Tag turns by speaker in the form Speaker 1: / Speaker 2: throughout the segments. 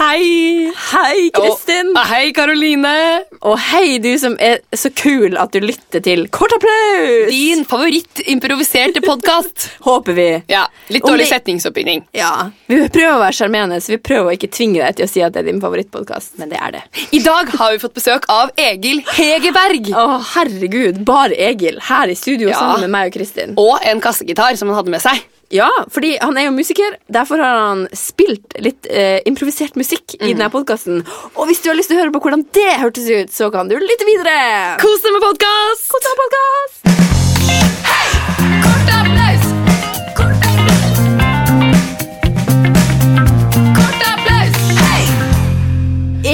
Speaker 1: Hei!
Speaker 2: Hei, Kristin!
Speaker 1: Og, Ah, hei, Karoline!
Speaker 2: Og hei, du som er så kul at du lytter til Kort applaus!
Speaker 1: Din favorittimproviserte podkast.
Speaker 2: Håper vi.
Speaker 1: Ja, litt
Speaker 2: Om
Speaker 1: dårlig
Speaker 2: det-
Speaker 1: setningsoppbygging.
Speaker 2: Ja, Vi prøver å være sjarmerende, så vi prøver å ikke tvinge deg til å si at det er din favorittpodkast, men det er det.
Speaker 1: I dag har vi fått besøk av Egil Hegerberg.
Speaker 2: Å, herregud, bare Egil her i studio
Speaker 1: Ja.
Speaker 2: sammen med meg og Kristin.
Speaker 1: Og en kassegitar som han hadde med seg.
Speaker 2: Ja, fordi han er jo musiker, derfor har han spilt litt eh, improvisert musikk i denne podkasten. Og hvis du har lyst til å høre på hvordan det hørtes ut, så kan du lytte videre.
Speaker 1: Kos deg med podkast!
Speaker 2: Kort applaus!
Speaker 1: Kort applaus! Kort applaus! Kort applaus!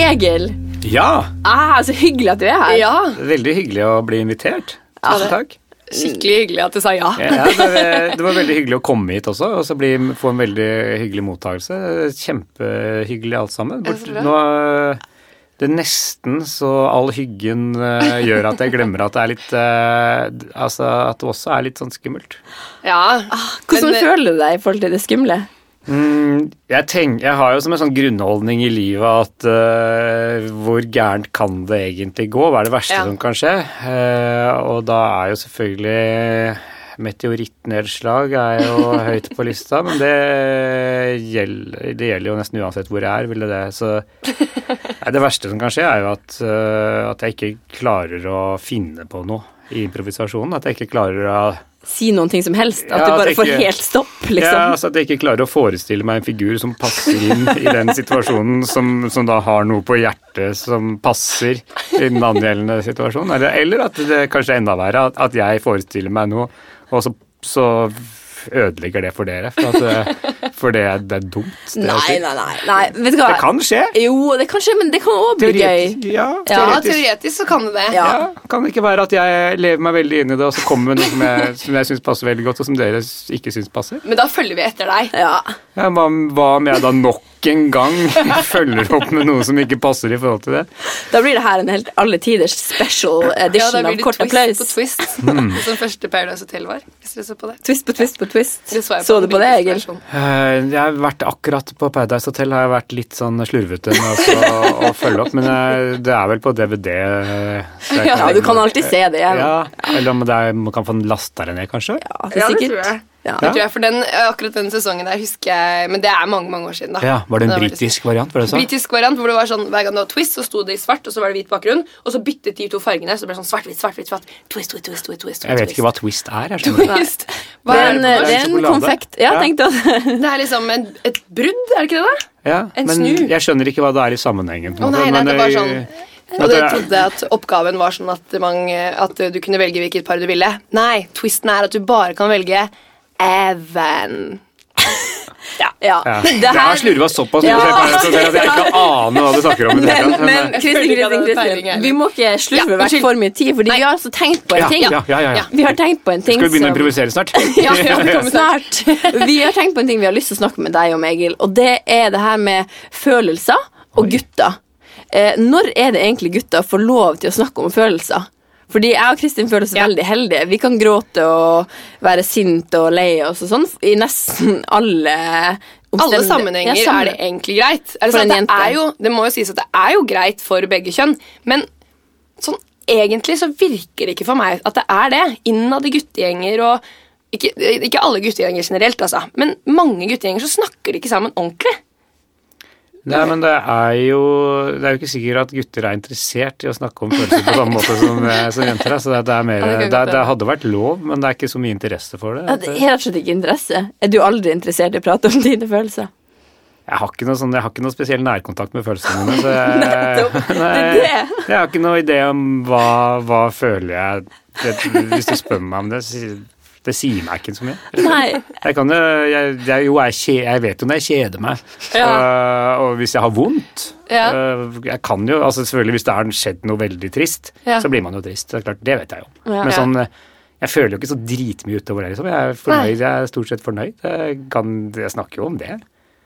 Speaker 2: Egil,
Speaker 3: Ja,
Speaker 2: ah, så hyggelig at du er her.
Speaker 1: Ja,
Speaker 3: veldig hyggelig å bli invitert. Tusen takk.
Speaker 1: skikkelig hyggelig at du sa ja.
Speaker 3: Ja, det, det var veldig hyggelig å komme hit også, og så bli, få en veldig hyggelig mottakelse. Kjempehyggelig alt sammen. Bort, nå, eh, det er nesten så all hyggen eh, gjør at jeg glemmer at det er litt eh, Altså at det også er litt sånn skummelt.
Speaker 1: Ja,
Speaker 2: Hvordan
Speaker 1: Men, eh,
Speaker 2: føler du deg i forhold til det skumle?
Speaker 3: Mm, jeg, tenk, jeg har jo som en sånn grunnholdning i livet at eh, hvor gærent kan det egentlig gå? Hva er det verste
Speaker 1: Ja.
Speaker 3: som kan skje? Eh, og da er jo selvfølgelig meteorittnedslag er jo høyt på lista, men det gjelder, det gjelder jo nesten uansett hvor jeg er, ville det. Så nei, det verste som kan skje er jo at, eh, at jeg ikke klarer å finne på noe i improvisasjonen. At jeg ikke klarer å
Speaker 2: Si noen ting som helst. At
Speaker 3: Ja,
Speaker 2: du bare
Speaker 3: tenker-
Speaker 2: får helt stopp,
Speaker 3: ja,
Speaker 2: liksom.
Speaker 3: altså At jeg ikke klarer å forestille meg en figur som passer inn i den situasjonen, som, som da har noe på hjertet som passer i den angjeldende situasjonen. Eller, eller at det kanskje er enda verre, at, at jeg forestiller meg noe, og så, så ødelegger det for dere. For, at, det- for det, er- det er dumt. Det, å
Speaker 2: Nei,
Speaker 3: si.
Speaker 2: nei, nei. nei. Vet du hva?
Speaker 3: det kan skje.
Speaker 2: Jo, det kan skje, men det kan òg bli gøy.
Speaker 3: Teoretisk. Ja,
Speaker 1: ja,
Speaker 3: teoretisk.
Speaker 1: teoretisk så kan du det.
Speaker 2: Ja.
Speaker 3: Ja, kan det ikke være at jeg lever meg veldig inn i det, og så kommer det noe som jeg, som jeg syns passer veldig godt, og som dere ikke syns passer?
Speaker 1: Men da følger vi etter deg.
Speaker 2: Ja.
Speaker 3: Ja, hva, hva om jeg da nok en gang følger opp med noe som ikke passer i forhold til det?
Speaker 2: Da blir det her en helt alle tiders special
Speaker 1: Ja, da
Speaker 2: edition
Speaker 1: blir
Speaker 2: av
Speaker 1: det
Speaker 2: Kort
Speaker 1: twist
Speaker 2: applaus.
Speaker 1: på twist,
Speaker 3: Mm.
Speaker 1: som første Paradise Hotel var. Hvis dere så på det.
Speaker 2: Twist på twist på twist.
Speaker 1: Det jeg
Speaker 2: Så du
Speaker 1: den
Speaker 2: på det,
Speaker 1: britiske
Speaker 2: Egil?
Speaker 1: versjonen.
Speaker 3: Eh, Jeg har vært akkurat på Paradise Hotel, har jeg vært litt sånn slurvete med også å, å følge opp, men jeg, det er vel på DVD. eh, så jeg
Speaker 2: Ja, du kan alltid se det. igjen.
Speaker 3: Ja, eller om det er, man kan få den lasta ned, kanskje?
Speaker 2: Ja, det
Speaker 1: Ja,
Speaker 2: er
Speaker 1: det
Speaker 2: sikkert.
Speaker 1: tror jeg.
Speaker 2: Ja.
Speaker 1: Det tror jeg, for den, eh, akkurat den sesongen der husker jeg Men det er mange mange år siden. da
Speaker 3: Ja, Var det en
Speaker 1: Men
Speaker 3: britisk variant? var det sånn?
Speaker 1: Britisk variant hvor det var sånn hver gang det var twist, så sto det i svart, og så var det hvit bakgrunn, og så byttet de to fargene, så det ble sånn svart-hvitt, svart-hvitt, svart. Twist, twist, twist, twist, twist,
Speaker 3: Jeg vet ikke hva twist er. jeg skjønner.
Speaker 1: twist. Hva
Speaker 2: Det er
Speaker 1: er
Speaker 2: en,
Speaker 1: det,
Speaker 2: det
Speaker 1: på norsk?
Speaker 2: er en
Speaker 3: Sjokolade.
Speaker 2: konfekt. Ja,
Speaker 3: Ja.
Speaker 2: tenkte jeg.
Speaker 1: det er liksom en, et brudd, er det ikke det? da?
Speaker 3: Ja,
Speaker 1: En
Speaker 3: men
Speaker 1: snu.
Speaker 3: jeg skjønner ikke hva det er i sammenhengen. på
Speaker 1: Å,
Speaker 3: en måte,
Speaker 1: nei, nei,
Speaker 3: men,
Speaker 1: det var
Speaker 3: eh,
Speaker 1: sånn-
Speaker 3: men
Speaker 1: Og
Speaker 3: at
Speaker 1: det
Speaker 3: det-
Speaker 1: trodde jeg at oppgaven var sånn at, man, at du kunne velge hvilket par du ville. Nei, twisten er at du bare kan velge Even. Ja.
Speaker 2: Ja.
Speaker 3: Ja.
Speaker 2: Det
Speaker 3: Jeg har
Speaker 2: her-
Speaker 3: slurva såpass mye
Speaker 2: Ja.
Speaker 3: på Paradise Hotel at jeg ikke aner hva du snakker om. i det hele
Speaker 2: Men,
Speaker 3: tatt,
Speaker 2: men
Speaker 3: eh,
Speaker 2: Kristin,
Speaker 1: føler ikke at
Speaker 2: Kristin,
Speaker 1: det er peiling
Speaker 2: Kristin,
Speaker 1: heller.
Speaker 2: vi må ikke slurve
Speaker 1: Ja,
Speaker 2: vekk
Speaker 1: unnskyld.
Speaker 2: for mye tid, Fordi
Speaker 1: Nei.
Speaker 2: vi har altså tenkt på en
Speaker 3: ja,
Speaker 2: ting.
Speaker 3: ja, ja, ja,
Speaker 1: Ja.
Speaker 3: ja.
Speaker 2: Vi har tenkt på en ting
Speaker 3: Skal vi begynne å
Speaker 2: som-
Speaker 3: improvisere snart?
Speaker 1: Ja, ja, vi kommer snart.
Speaker 2: Snart. Vi har tenkt på en ting vi har lyst til å snakke med deg om, Egil. Og det er det her med følelser og gutter. Eh, når er det egentlig gutter får lov til å snakke om følelser? Fordi jeg og Kristin føler oss
Speaker 1: Ja.
Speaker 2: veldig heldige. Vi kan gråte og være sinte og lei oss og sånn i nesten alle
Speaker 1: Alle
Speaker 2: omstendigheter.
Speaker 1: sammenhenger
Speaker 2: Ja, sammen-
Speaker 1: er det egentlig greit. Er det,
Speaker 2: For
Speaker 1: sant?
Speaker 2: en
Speaker 1: det,
Speaker 2: jente.
Speaker 1: er jo, det må jo sies at det er jo greit for begge kjønn, men sånn egentlig så virker det ikke for meg at det er det. Innad i guttegjenger og ikke, ikke alle guttegjenger generelt, altså, men mange guttegjenger så snakker de ikke sammen ordentlig.
Speaker 3: Nei, men det er jo Det er jo ikke sikkert at gutter er interessert i å snakke om følelser på samme måte som, eh, som jenter. er, Så det, det, er mer,
Speaker 1: Ja, det kan
Speaker 3: det,
Speaker 1: godt være.
Speaker 3: det hadde vært lov, men det er ikke så mye interesse for
Speaker 2: Ja,
Speaker 3: det.
Speaker 2: det er Helt slett ikke interesse. Er du aldri interessert i å prate om dine følelser?
Speaker 3: Jeg har ikke noe, sånn, jeg har ikke noe spesiell nærkontakt med følelsene mine. Så jeg,
Speaker 2: Nettopp. Det er
Speaker 3: Nei,
Speaker 2: det.
Speaker 3: jeg har ikke noe idé om hva, hva føler jeg det, Hvis du spør meg om det, så- det sier meg ikke så mye.
Speaker 2: Nei.
Speaker 3: Jeg kan jo, jeg, jeg, jo jeg, kje, jeg vet jo når jeg kjeder meg, Øh, og hvis jeg har vondt
Speaker 1: Ja.
Speaker 3: øh, Jeg kan jo, altså selvfølgelig Hvis det har skjedd noe veldig trist,
Speaker 1: Ja.
Speaker 3: så blir man jo trist. Det er klart, det vet jeg jo.
Speaker 2: Ja.
Speaker 3: Men
Speaker 1: Ja.
Speaker 3: sånn, øh, jeg føler jo ikke så dritmye utover det. Liksom. Jeg er fornøyd, jeg er stort sett fornøyd. Jeg, kan, jeg snakker jo om det.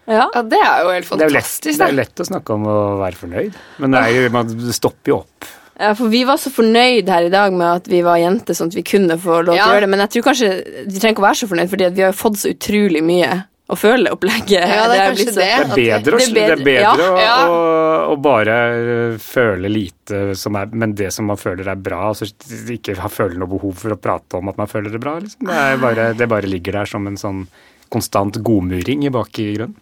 Speaker 2: Ja.
Speaker 1: Ja, Det er jo helt
Speaker 3: Det er jo lett,
Speaker 1: fantastisk.
Speaker 3: det er
Speaker 1: da.
Speaker 3: jo lett å snakke om å være fornøyd, men det er jo, man stopper jo opp.
Speaker 2: Ja, for vi var så fornøyd her i dag med at vi var jenter, sånn at vi kunne få lov til
Speaker 1: Ja.
Speaker 2: å gjøre det. Men jeg tror kanskje vi trenger ikke å være så fornøyd, fordi at vi har jo fått så utrolig mye å føle opplegget.
Speaker 1: Ja, det er
Speaker 2: blitt
Speaker 1: kanskje
Speaker 2: så-
Speaker 1: det.
Speaker 3: Det er bedre, å,
Speaker 2: Det er
Speaker 3: sl- det er bedre
Speaker 2: bedre-
Speaker 3: å,
Speaker 1: ja.
Speaker 3: å, å bare øh, føle lite, som er, men det som man føler er bra, altså ikke ha- føle noe behov for å prate om at man føler det bra. Liksom. Det, er bare,
Speaker 1: Ah.
Speaker 3: det bare ligger der som en sånn konstant godmuring i bak i grunnen.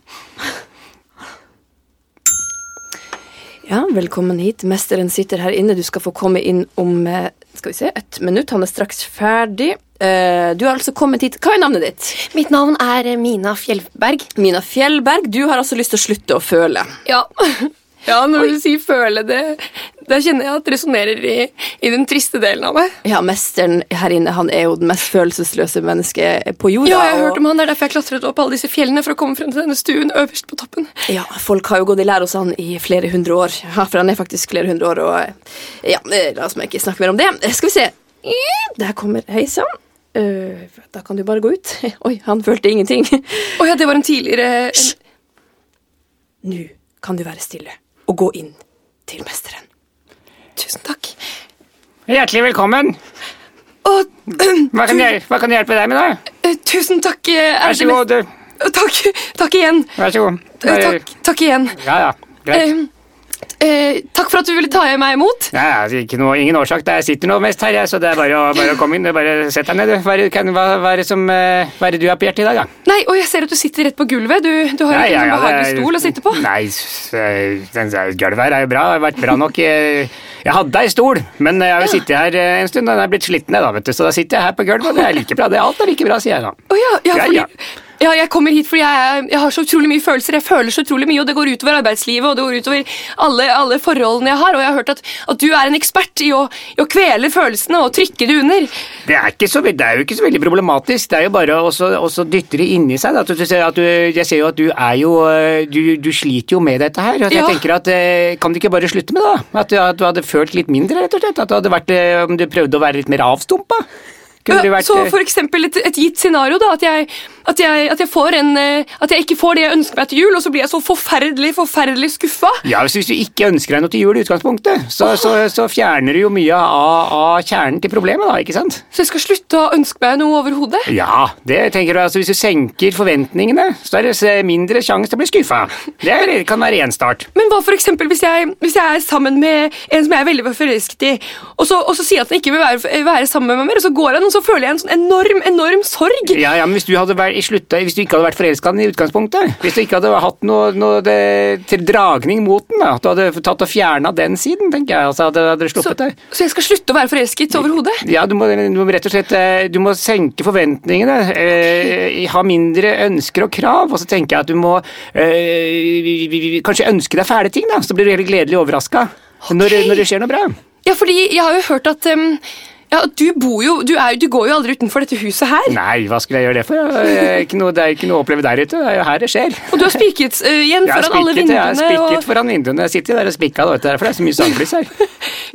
Speaker 2: Ja, velkommen hit. Mesteren sitter her inne. Du skal få komme inn om eh, skal vi se, et minutt. Han er straks ferdig. Eh, Du har altså kommet hit. Hva er navnet ditt?
Speaker 1: Mitt navn er eh, Mina Fjellberg.
Speaker 2: Mina Fjellberg, du har altså lyst til å slutte å føle.
Speaker 1: Ja. Ja, når du sier 'føle', det Da kjenner jeg at det resonnerer i, i den triste delen av meg.
Speaker 2: Ja, mesteren her inne han er jo den mest følelsesløse mennesket på jorda.
Speaker 1: Ja, jeg har
Speaker 2: og-
Speaker 1: hørt om han, Det er derfor jeg klatret opp alle disse fjellene for å komme frem til denne stuen øverst på toppen.
Speaker 2: Ja, folk har jo gått i lære hos han i flere hundre år. Ja, for han er faktisk flere hundre år, og eh, ja, eh, la oss meg ikke snakke mer om det. Eh, Skal vi se. Eh, Der kommer Hei sann. Eh, Da kan du bare gå ut. Oi, han følte ingenting.
Speaker 1: Å ja, det var en tidligere en,
Speaker 2: Nå kan du være stille og gå inn til mesteren.
Speaker 1: Tusen takk.
Speaker 3: Hjertelig velkommen!
Speaker 1: Å,
Speaker 3: Hva kan, jeg, hva kan jeg hjelpe deg med, da?
Speaker 1: eh, tusen takk, eh,
Speaker 3: Vær
Speaker 1: ærede
Speaker 3: så god.
Speaker 1: mester.
Speaker 3: du.
Speaker 1: Takk, takk igjen.
Speaker 3: Vær så god.
Speaker 1: Eh, Takk, takk igjen.
Speaker 3: Ja, ja. Greit.
Speaker 1: Eh, eh, takk for at du ville ta meg imot.
Speaker 3: Ja, ja, ikke noe, ingen årsak. da. Jeg sitter nå mest her, jeg, så det er bare å, bare å komme inn. Det er Bare Sett deg ned, du. Hva er det- kan- hva- hva er det som, eh, hva er det du har på hjertet i dag, da?
Speaker 1: Nei, og jeg ser at du sitter rett på gulvet. Du, du har ikke noen behagelig
Speaker 3: det er-
Speaker 1: stol å sitte på.
Speaker 3: Nei, s- eh, den der gulvet her er jo bra. Det har vært bra nok. Jeg, jeg hadde ei stol, men jeg har jo sittet her eh, en stund, og den er blitt sliten, jeg da, vet du. Så da sitter jeg her på gulvet, og det er like bra. Det er alt er like bra, sier jeg da.
Speaker 1: Å ja, ja,
Speaker 3: Ja,
Speaker 1: fordi,
Speaker 3: ja.
Speaker 1: ja, jeg kommer hit fordi jeg, er- jeg har så utrolig mye følelser. Jeg føler så utrolig mye, og det går utover arbeidslivet og det går utover alle, alle forholdene jeg har. Og jeg har hørt at, at du er en ekspert i å, i å kvele følelsene og trykke det under.
Speaker 3: Det er, ikke så, ve- det er jo ikke så veldig problematisk. Det er jo bare å så- å så dytte det inni seg. Da. At du, ser at du, jeg ser jo at du er jo eh, Du, du sliter jo med dette her. og Jeg
Speaker 1: Ja.
Speaker 3: tenker at eh, Kan du ikke bare slutte med det? da? At du, at du hadde følt litt mindre, rett og slett? At du hadde vært, eh, om du prøvde å være litt mer avstumpa? Kunne du
Speaker 1: Ja,
Speaker 3: vært
Speaker 1: så
Speaker 3: eh,
Speaker 1: for eksempel et, et gitt scenario, da, at jeg, at, jeg, at, jeg får en, eh, at jeg ikke får det jeg ønsker meg til jul, og så blir jeg så forferdelig, forferdelig skuffa.
Speaker 3: Ja, hvis du ikke ønsker deg noe til jul i utgangspunktet, så, så, så fjerner du jo mye av, av kjernen til problemet, da, ikke sant?
Speaker 1: Så jeg skal slutte å ønske meg noe overhodet.
Speaker 3: Ja, det tenker du, altså hvis du senker forventningene, så er det s- mindre sjanse til å bli skuffa. Det er, kan være én start.
Speaker 1: Men hva for eksempel hvis jeg, hvis jeg er sammen med en som jeg er veldig forelsket i, og så, og så sier han at han ikke vil være, være sammen med meg mer, og så går han, og så føler jeg en sånn enorm enorm sorg.
Speaker 3: Ja, ja, men Hvis du, hadde vært, i slutta, hvis du ikke hadde vært forelska i den i utgangspunktet, hvis du ikke hadde hatt noe, noe det, til dragning mot den, da, at du hadde tatt og fjerna den siden, tenker jeg, altså hadde, hadde du
Speaker 1: Så,
Speaker 3: sluppet det.
Speaker 1: så jeg skal slutte å være forelsket overhodet?
Speaker 3: Ja, du må, du må rett og slett eh, Du må senke forventningene. Eh, ha mindre ønsker og krav. Og så tenker jeg at du må eh, vi, vi, vi, kanskje ønske deg fæle ting, da. Så blir du heller gledelig overraska når, når det skjer noe bra.
Speaker 1: Ja, fordi jeg har jo hørt at um, ja, at du bor jo du, er, jo- du går jo aldri utenfor dette huset her.
Speaker 3: Nei, hva skulle jeg gjøre det for? Eh, Ikke noe, det er ikke noe å oppleve der ute. Det er jo her det skjer.
Speaker 1: Og du har spiket eh, igjen
Speaker 3: Jeg har
Speaker 1: foran alle
Speaker 3: spikket, jeg har
Speaker 1: vinduene.
Speaker 3: spikket
Speaker 1: Og,
Speaker 3: foran vinduene. Jeg sitter jo der og spikka, da, vet du, derfor det er så mye sandblis her.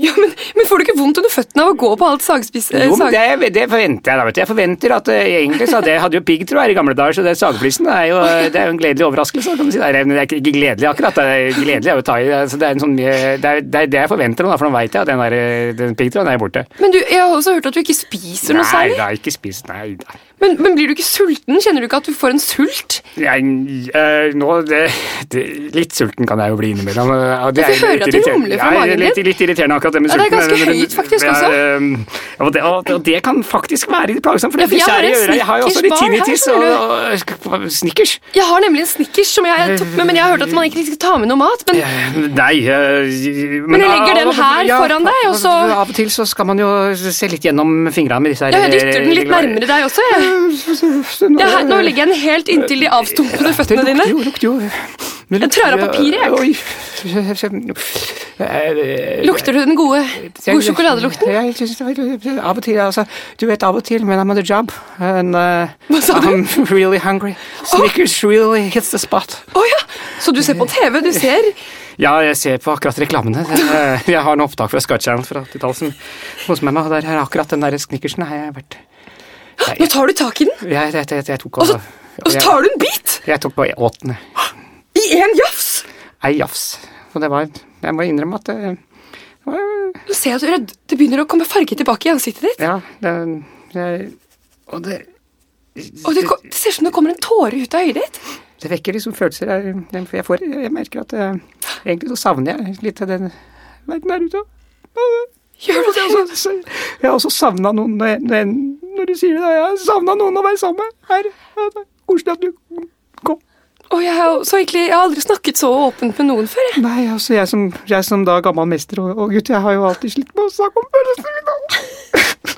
Speaker 1: ja, men, men får du ikke vondt under føttene av å gå på alt sagspiss... eh,
Speaker 3: Jo, men
Speaker 1: sag-
Speaker 3: det, det forventer jeg, da. vet du. Jeg forventer at eh, Egentlig så hadde jeg hadde jo piggtråd her i gamle dager, så det sagflissen er jo, eh, det er jo en gledelig overraskelse. kan du si. Nei, men Det er ikke- ikke gledelig akkurat. Det er gledelig er jo å ta i. altså, det, er en sånn, mye- det, er, det er det jeg forventer nå, da, for nå veit jeg at den, der, eh, den piggtråden er borte.
Speaker 1: Men du, jeg har også hørt at du ikke spiser noe
Speaker 3: Nei,
Speaker 1: særlig.
Speaker 3: da, ikke spis. Nei, da.
Speaker 1: Men, men blir du ikke sulten? Kjenner du ikke at du får en sult?
Speaker 3: Jeg, eh, nå, det, det, litt sulten kan jeg jo bli innimellom. eh, og Det
Speaker 1: Ja, for jeg hører at
Speaker 3: litt
Speaker 1: det
Speaker 3: irriterende.
Speaker 1: rumler fra
Speaker 3: Ja,
Speaker 1: magen
Speaker 3: litt,
Speaker 1: din.
Speaker 3: litt irriterende akkurat det med
Speaker 1: Ja, det er
Speaker 3: sulten.
Speaker 1: ganske
Speaker 3: men- men-
Speaker 1: høyt faktisk
Speaker 3: ja,
Speaker 1: også.
Speaker 3: eh, og, det, og, og det kan faktisk være litt plagsomt, for
Speaker 1: Ja,
Speaker 3: det
Speaker 1: for jeg har
Speaker 3: skjærer i
Speaker 1: en
Speaker 3: øret. Jeg har jo også litt
Speaker 1: Snickers-bar her,
Speaker 3: tinnitus og, og, og snickers.
Speaker 1: Jeg har nemlig en Snickers som jeg tok med, men jeg har hørt at man ikke skal ta med noe mat. Men
Speaker 3: Nei eh,
Speaker 1: Men jeg legger den her foran deg, og så-
Speaker 3: Av og til så skal man jo se litt gjennom fingrene med disse her eh,
Speaker 1: ja, jeg dytter den litt nærmere deg også. Jeg. Ja, her, nå ligger jeg den helt inntil de avstumpede føttene dine.
Speaker 3: Det lukter jo, lukter jo. Det
Speaker 1: Jeg trær av
Speaker 3: lukter-
Speaker 1: papiret, jeg.
Speaker 3: Oi.
Speaker 1: Lukter du den gode,
Speaker 3: eh, Jeg-
Speaker 1: gode sjokoladelukten?
Speaker 3: Jeg, jeg, synes det var- av og til, altså. Du vet, av og til, when I'm on the job and uh,
Speaker 1: Hva sa du?
Speaker 3: I'm really hungry. Snickers really hits the spot.
Speaker 1: Å ja! Så du ser på TV, du ser.
Speaker 3: Ja, jeg ser på akkurat reklamene. Eh, Jeg har en opptak fra Sky Channel fra 80-tallet hos meg, og der er akkurat den der Snickersen har jeg vært.
Speaker 1: Nå tar du tak i den,
Speaker 3: Jeg, jeg, jeg, jeg tok
Speaker 1: og så, og så
Speaker 3: jeg,
Speaker 1: tar du en bit!
Speaker 3: jeg tok bare åttende.
Speaker 1: I én jafs!
Speaker 3: Ei jafs. Og det var Jeg må innrømme at eh, det, det var
Speaker 1: Nå ser jeg at du rød, det begynner å komme farge tilbake i ansiktet ditt.
Speaker 3: Ja, det jeg, Og det
Speaker 1: Og det, ko- det ser ut som det kommer en tåre ut av øyet ditt.
Speaker 3: Det vekker liksom følelser. Jeg, jeg, får, jeg merker at eh, egentlig så savner jeg litt av den verden der ute.
Speaker 1: Gjør du det?
Speaker 3: Jeg har også, jeg har også savna noen når, jeg, når, jeg, når du sier det. da, Jeg har savna noen å være sammen med her. Ja, det er Koselig at du kom.
Speaker 1: Og jeg, har jo- så egentlig, jeg har aldri snakket så åpent med noen før. jeg.
Speaker 3: Nei, altså jeg som, jeg som da gammel mester og, og gutt, jeg har jo alltid slitt med å snakke om følelsene mine.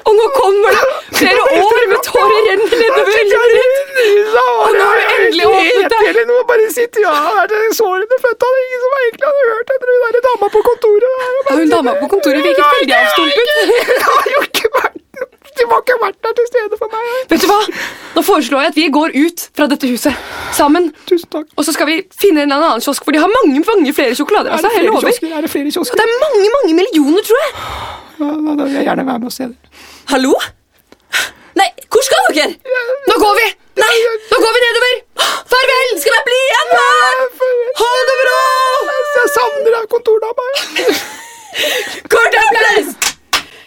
Speaker 1: Og nå kommer det flere år med tårer renner nedover øynene dine.
Speaker 3: Og
Speaker 1: nå har du endelig åpnet deg.
Speaker 3: Eller noe, bare sitter ja, er det sårene født av det ingen som egentlig hadde hørt etter hun derre dama på kontoret. der, og
Speaker 1: Ja,
Speaker 3: bare
Speaker 1: hun
Speaker 3: sitter-
Speaker 1: dama på kontoret virket
Speaker 3: Nei,
Speaker 1: veldig
Speaker 3: det har
Speaker 1: avstumpet.
Speaker 3: ikke- Det har jo ikke vært noe- De har ikke vært der til stede for meg.
Speaker 1: Vet du hva? Nå foreslår jeg at vi går ut fra dette huset sammen.
Speaker 3: Tusen takk.
Speaker 1: Og så skal vi finne en eller annen kiosk, for de har mange mange flere sjokolader.
Speaker 3: Er
Speaker 1: Altså,
Speaker 3: det
Speaker 1: jeg
Speaker 3: flere
Speaker 1: lover.
Speaker 3: kiosker? Er det flere
Speaker 1: Og
Speaker 3: kiosker?
Speaker 1: det er mange mange millioner, tror jeg.
Speaker 3: Ja, da, da vil jeg gjerne være med og se det.
Speaker 2: Hallo? Nei, hvor skal dere?
Speaker 1: Nå går vi!
Speaker 2: Nei,
Speaker 1: Nå går vi nedover!
Speaker 2: farvel! Skal jeg bli igjen her? Ha det bra!
Speaker 3: Jeg savner deg, kontordama.
Speaker 2: Kort applaus!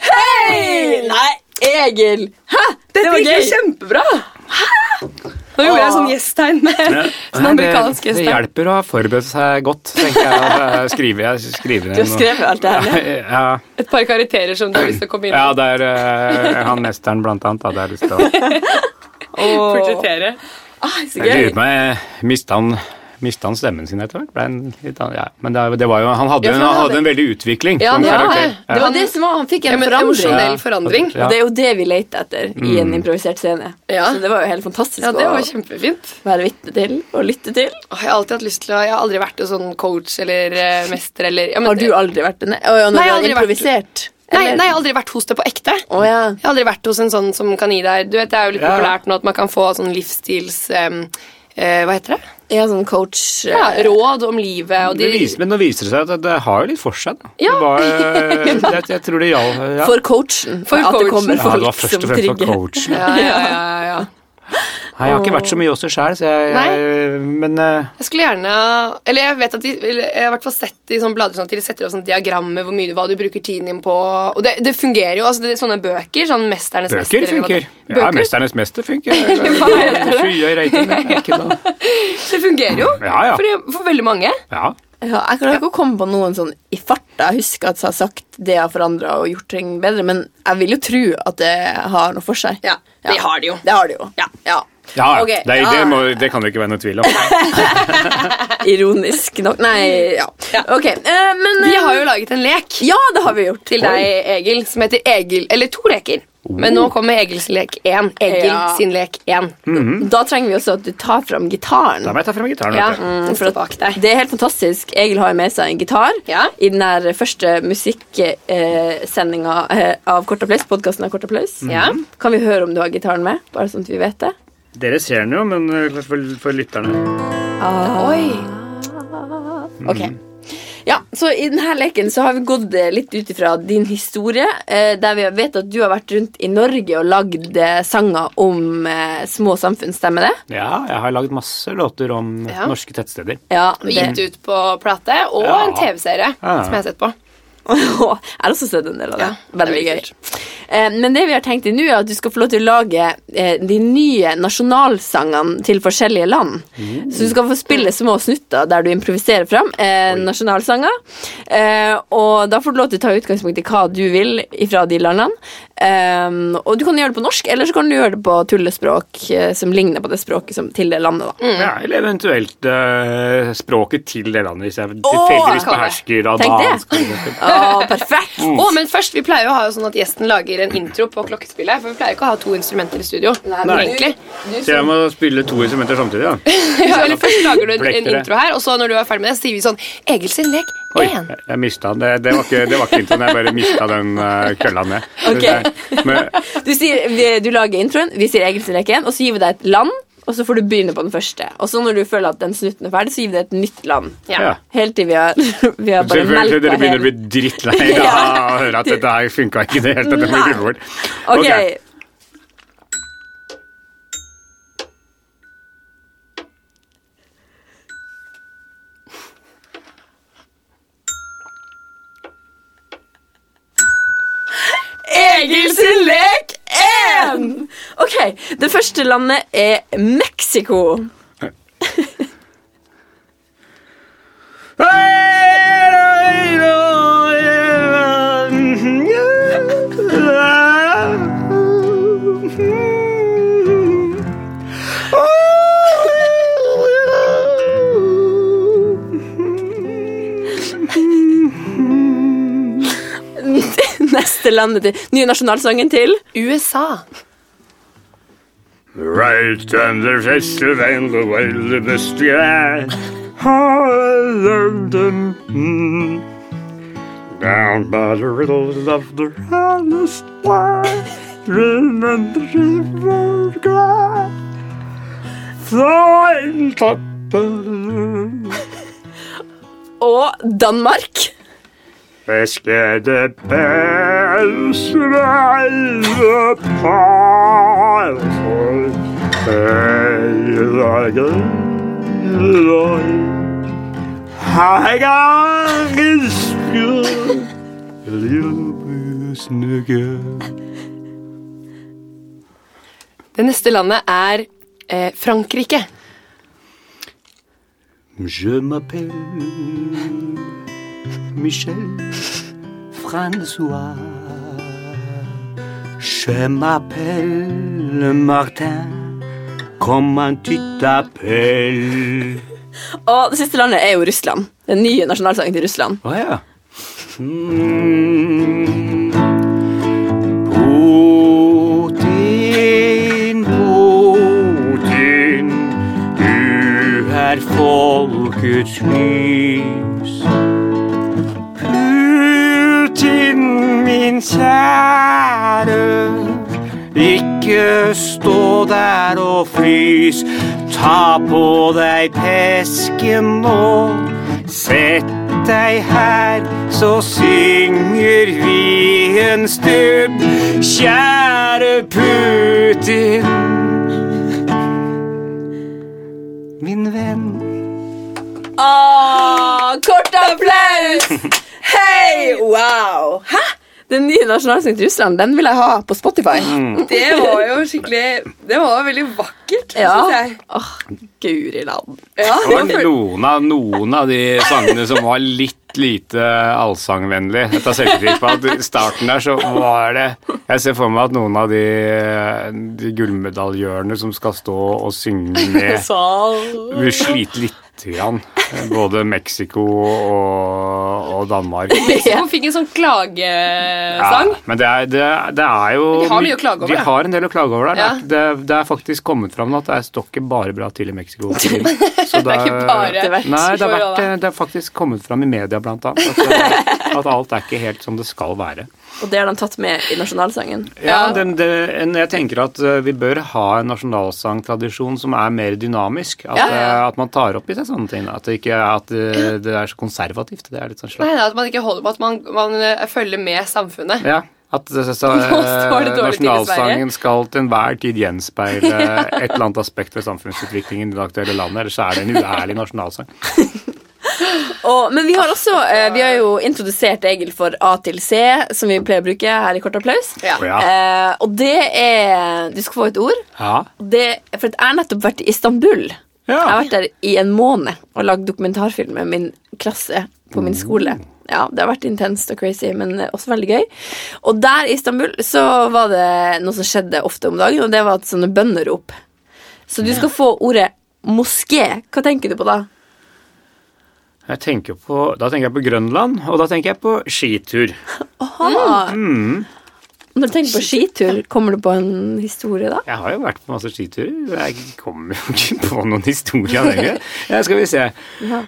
Speaker 2: Hei! Nei, Egil. Hæ?
Speaker 1: Dette
Speaker 2: var
Speaker 1: gikk jo
Speaker 2: gøy.
Speaker 1: kjempebra. Nå gjorde jeg sånn gjesttegn med sånn amerikansk gjesttegn.
Speaker 3: hjelper å ha forberedt seg godt, tenker jeg. Skriver jeg skriver
Speaker 2: Du har skrevet alt det her ned.
Speaker 3: Ja,
Speaker 1: Et par karakterer som du har lyst til å komme inn
Speaker 3: Ja,
Speaker 1: og
Speaker 3: det er eh, han mesteren blant annet hadde jeg lyst til å
Speaker 2: Åh,
Speaker 1: portrettere.
Speaker 2: ah, så
Speaker 3: Jeg lurer
Speaker 2: gøy.
Speaker 3: på om jeg mista han, mistet han stemmen sin etter hvert? Ble han litt an- ja. Men det, er- det var jo, han hadde,
Speaker 2: Ja, for
Speaker 3: en-
Speaker 2: han
Speaker 3: han
Speaker 2: hadde-
Speaker 3: hadde en veldig utvikling
Speaker 1: Ja,
Speaker 3: som
Speaker 1: det var
Speaker 3: karakter.
Speaker 1: det.
Speaker 2: Det var det som var, han fikk
Speaker 1: Ja,
Speaker 2: en
Speaker 1: men
Speaker 2: forandring.
Speaker 1: Emosjonell forandring.
Speaker 3: Ja. Mm.
Speaker 2: Og det er jo det vi leter etter i en improvisert scene.
Speaker 1: Ja.
Speaker 2: Så det var jo helt fantastisk
Speaker 1: Ja, det var
Speaker 2: å
Speaker 1: kjempefint.
Speaker 2: være vitne til og lytte til.
Speaker 1: Åh, Jeg har alltid hatt lyst til å Jeg har aldri vært en sånn coach eller eh, mester eller ja, men-
Speaker 2: Har du aldri vært det? Nei, oh, ja, når
Speaker 1: Nei,
Speaker 2: du
Speaker 1: jeg har
Speaker 2: har
Speaker 1: aldri vært-
Speaker 2: improvisert.
Speaker 1: Nei, nei, jeg har aldri vært hos det på ekte. Jeg
Speaker 2: Å ja.
Speaker 1: har aldri vært hos en sånn som kan gi deg Du vet, Det er jo litt
Speaker 3: Ja.
Speaker 1: populært nå at man kan få sånn livsstils... em, eh, hva heter det?
Speaker 2: Jeg er sånn coach. eh,
Speaker 1: Ja, råd om livet og de
Speaker 3: Det viser, men nå viser det seg at det har jo litt for seg. Da.
Speaker 1: Ja.
Speaker 3: Det var, eh, jeg, jeg tror det gjaldt ja.
Speaker 2: For coachen.
Speaker 1: For
Speaker 2: at
Speaker 1: coachen.
Speaker 2: det kommer
Speaker 1: Ja,
Speaker 3: ja,
Speaker 2: folk
Speaker 3: det var først
Speaker 2: som
Speaker 3: og fremst for
Speaker 2: trigger.
Speaker 3: coachen.
Speaker 1: ja, ja, ja, ja.
Speaker 3: Nei, Jeg har ikke vært så mye hos det sjøl, så jeg, jeg Men eh,
Speaker 1: Jeg skulle gjerne Eller jeg vet at de, eller jeg har i hvert fall sett i sånne blader sånn at de setter opp sånn diagrammer hvor mye hva du bruker tiden din på. Og det, det fungerer jo. altså det, er Sånne bøker. sånn Mesternes mester. eller hva
Speaker 3: bøker funker.
Speaker 1: det-
Speaker 3: Ja,
Speaker 1: Bøker,
Speaker 3: Mesternes mester funker. Skyhøy rating. det er ikke noe-
Speaker 1: sånn. det fungerer jo
Speaker 3: Ja, ja.
Speaker 1: For, for veldig mange.
Speaker 3: Ja.
Speaker 2: Ja, jeg klarer ikke å komme på noen sånn i farta. Jeg husker at jeg har sagt det jeg har forandra og gjort ting bedre, men jeg vil jo tro at det har noe for seg.
Speaker 1: Ja, det har det jo.
Speaker 2: Det har det jo.
Speaker 1: Ja.
Speaker 3: Ja, ja.
Speaker 2: Ok,
Speaker 3: det,
Speaker 2: ja.
Speaker 3: det, må, det kan det ikke være noe tvil om.
Speaker 2: Ironisk nok. Nei, ja.
Speaker 1: Ja.
Speaker 2: Ok, eh, men
Speaker 1: Vi
Speaker 2: eh,
Speaker 1: har jo laget en lek
Speaker 2: Ja, det har vi gjort.
Speaker 1: til deg, Egil, som heter Egil Eller to leker. Men
Speaker 3: Oh.
Speaker 1: nå kommer Egils lek 1. Egil
Speaker 2: Ja.
Speaker 1: sin lek 1.
Speaker 3: Mm.
Speaker 2: Da trenger vi også at du tar fram gitaren. Mm,
Speaker 3: Da må jeg ta frem gitaren.
Speaker 1: Ja, mm,
Speaker 3: vet du.
Speaker 1: den står bak deg.
Speaker 2: Det er helt fantastisk. Egil har jo med seg en gitar.
Speaker 1: Ja.
Speaker 2: I den her første musikksendinga eh, av Kort applaus, podkasten av Kort applaus.
Speaker 1: Ja.
Speaker 2: Kan vi høre om du har gitaren med? Bare sånn at vi vet det.
Speaker 3: Dere ser den jo, men eh, for, for lytterne
Speaker 1: Ah, Oi.
Speaker 2: Ok. Ja, så I denne leken så har vi gått eh, litt ut ifra din historie, eh, der vi vet at du har vært rundt i Norge og lagd eh, sanger om eh, små samfunn. Stemmer det?
Speaker 3: Ja, jeg har lagd masse låter om
Speaker 1: Ja.
Speaker 3: norske tettsteder.
Speaker 2: Ja,
Speaker 1: Og
Speaker 2: det.
Speaker 1: gitt ut på plate og
Speaker 3: Ja.
Speaker 1: en TV-serie
Speaker 3: Ja.
Speaker 1: som jeg har sett på.
Speaker 2: Jeg har også sett en del av det.
Speaker 1: Ja,
Speaker 2: Veldig
Speaker 1: det er
Speaker 2: gøy. Eh, Men det vi har tenkt i nå, er at du skal få lov til å lage eh, de nye nasjonalsangene til forskjellige land. Så du skal få spille små snutter der du improviserer fram eh, nasjonalsanger. Eh, og da får du lov til å ta utgangspunkt i hva du vil fra de landene. Eh, og du kan gjøre det på norsk, eller så kan du gjøre det på tullespråk eh, som ligner på det språket som, til det landet, da.
Speaker 3: Ja, eller eventuelt eh, språket til det landet, hvis jeg
Speaker 2: kan
Speaker 3: tilfeldigvis
Speaker 1: det.
Speaker 3: behersker
Speaker 2: Tenk det.
Speaker 3: albansk. for eksempel.
Speaker 2: Å, perfekt!
Speaker 3: Mm.
Speaker 1: Å, men først, Vi pleier jo å ha jo sånn at gjesten lager en intro på klokkespillet. For vi pleier ikke å ha to instrumenter i studio.
Speaker 3: Nei.
Speaker 1: egentlig.
Speaker 3: Så jeg må spille to instrumenter samtidig, da.
Speaker 1: Ja, eller Først lager du en, en
Speaker 3: Blektere.
Speaker 1: intro her, og så når du er ferdig med det, så sier vi sånn Egil sin lek
Speaker 3: Oi,
Speaker 1: én.
Speaker 3: jeg- jeg mista den. Det, det var ikke, det var ikke introen, jeg bare mista den eh, kølla ned.
Speaker 2: Ok.
Speaker 3: Men,
Speaker 2: Du, sier, vi- du lager introen, vi sier Egils lek igjen, og så gir vi deg et land, og så får du begynne på den første. Og så når du føler at den snutten er ferdig, så gir vi deg et nytt land.
Speaker 1: Ja.
Speaker 3: ja.
Speaker 2: Helt til vi har, vi har bare
Speaker 3: Selvfølgelig,
Speaker 2: melket
Speaker 3: dere begynner å bli
Speaker 2: hele.
Speaker 3: drittlei av å høre at dette her funka ikke i det hele tatt. Det må vi
Speaker 2: Nei.
Speaker 3: klippe bort.
Speaker 2: Ok.
Speaker 3: Ok.
Speaker 2: Egils lek 1! Ok, Det første landet er Mexico. Neste landet til nye nasjonalsangen til.
Speaker 1: USA.
Speaker 3: Right on the festival and the wild of the strand. Down hmm. by the riddles of the honest land, dream and the river glad. Flying top
Speaker 2: Og Danmark.
Speaker 3: Fiske the bells rise upon I got this good little bit nigga.
Speaker 1: Det neste landet er eh, Frankrike.
Speaker 3: Je m'appelle Michel François. Je m'appelle Martin. Comment tu t'appelles?
Speaker 2: Og det siste landet er jo Russland. Den nye nasjonalsangen til Russland.
Speaker 3: Å ja. Mm. Putin, Putin, du er folkets lys. Putin, min kjære, ikke stå der og frys. Ta på deg pesken nå, sett deg her, så synger vi en stund. Kjære Putin, min venn.
Speaker 2: Åh, Ah, kort applaus! Hei! Wow! Hæ? Den nye nasjonalsangen til Russland den vil jeg ha på Spotify. Mm,
Speaker 1: Det var jo skikkelig Det var veldig vakkert,
Speaker 2: Ja.
Speaker 1: synes jeg.
Speaker 2: Åh, guri land.
Speaker 1: Ja,
Speaker 3: Det var noen av, noen av de sangene som var litt lite allsangvennlig. Jeg tar selvkritikk på at i starten der så var det Jeg ser for meg at noen av de, de gullmedaljørene som skal stå og synge med, vil slite lite grann. Både Mexico og, og Danmark.
Speaker 1: Mexico fikk en sånn klagesang.
Speaker 3: men det er, det, er- det er jo
Speaker 1: De har mye å klage over,
Speaker 3: De
Speaker 1: ja.
Speaker 3: har en del å klage over der.
Speaker 1: Ja.
Speaker 3: Det, er- det er faktisk kommet fram nå at det er- står ikke bare bra til i Mexico. Så det,
Speaker 1: Det er ikke bare
Speaker 2: Det er verdt-
Speaker 3: Nei, det har,
Speaker 1: for å
Speaker 3: vært,
Speaker 1: gjøre
Speaker 3: det har faktisk kommet fram i media, blant annet. At, at alt er ikke helt som det skal være.
Speaker 2: Og det har de tatt med i nasjonalsangen.
Speaker 3: Ja,
Speaker 1: Ja.
Speaker 3: den, det- en- jeg tenker at eh, vi bør ha en nasjonalsangtradisjon som er mer dynamisk. At,
Speaker 2: Ja, ja.
Speaker 3: eh, at man tar opp i seg sånne ting. da. At det ikke er at eh, det er så konservativt. Det er litt sånn
Speaker 1: Nei,
Speaker 3: slapp.
Speaker 1: det er at man ikke holder på at man, man eh, følger med samfunnet.
Speaker 3: Ja, at det- så, så,
Speaker 1: Nå står det
Speaker 3: eh,
Speaker 1: dårlig til i
Speaker 3: nasjonalsangen skal til enhver tid gjenspeile et eller annet aspekt ved samfunnsutviklingen i det aktuelle landet, ellers så er det en uærlig nasjonalsang.
Speaker 2: Og, men vi har også, eh, vi har jo introdusert Egil for A til C, som vi pleier å bruke her i Kort applaus.
Speaker 1: Ja.
Speaker 3: Å, ja.
Speaker 2: Eh, og det er Du skal få et ord.
Speaker 3: Ja.
Speaker 2: Og Det, for jeg har nettopp vært i Istanbul. Jeg har
Speaker 3: ja.
Speaker 2: vært der i en måned og lagd dokumentarfilm med min klasse på min skole. Ja, Det har vært intenst og crazy, men også veldig gøy. Og der i Istanbul så var det noe som skjedde ofte om dagen, og det var at sånne bønnerop. Så du skal få ordet moské. Hva tenker du på da?
Speaker 3: Jeg tenker på, da tenker jeg på Grønland, og da tenker jeg på skitur.
Speaker 2: Ah.
Speaker 3: Mm.
Speaker 2: Når du tenker på skitur, kommer du på en historie da?
Speaker 3: Jeg har jo vært på masse skiturer. Jeg kommer jo ikke på noen historie av det. egentlig. Ja, skal vi se.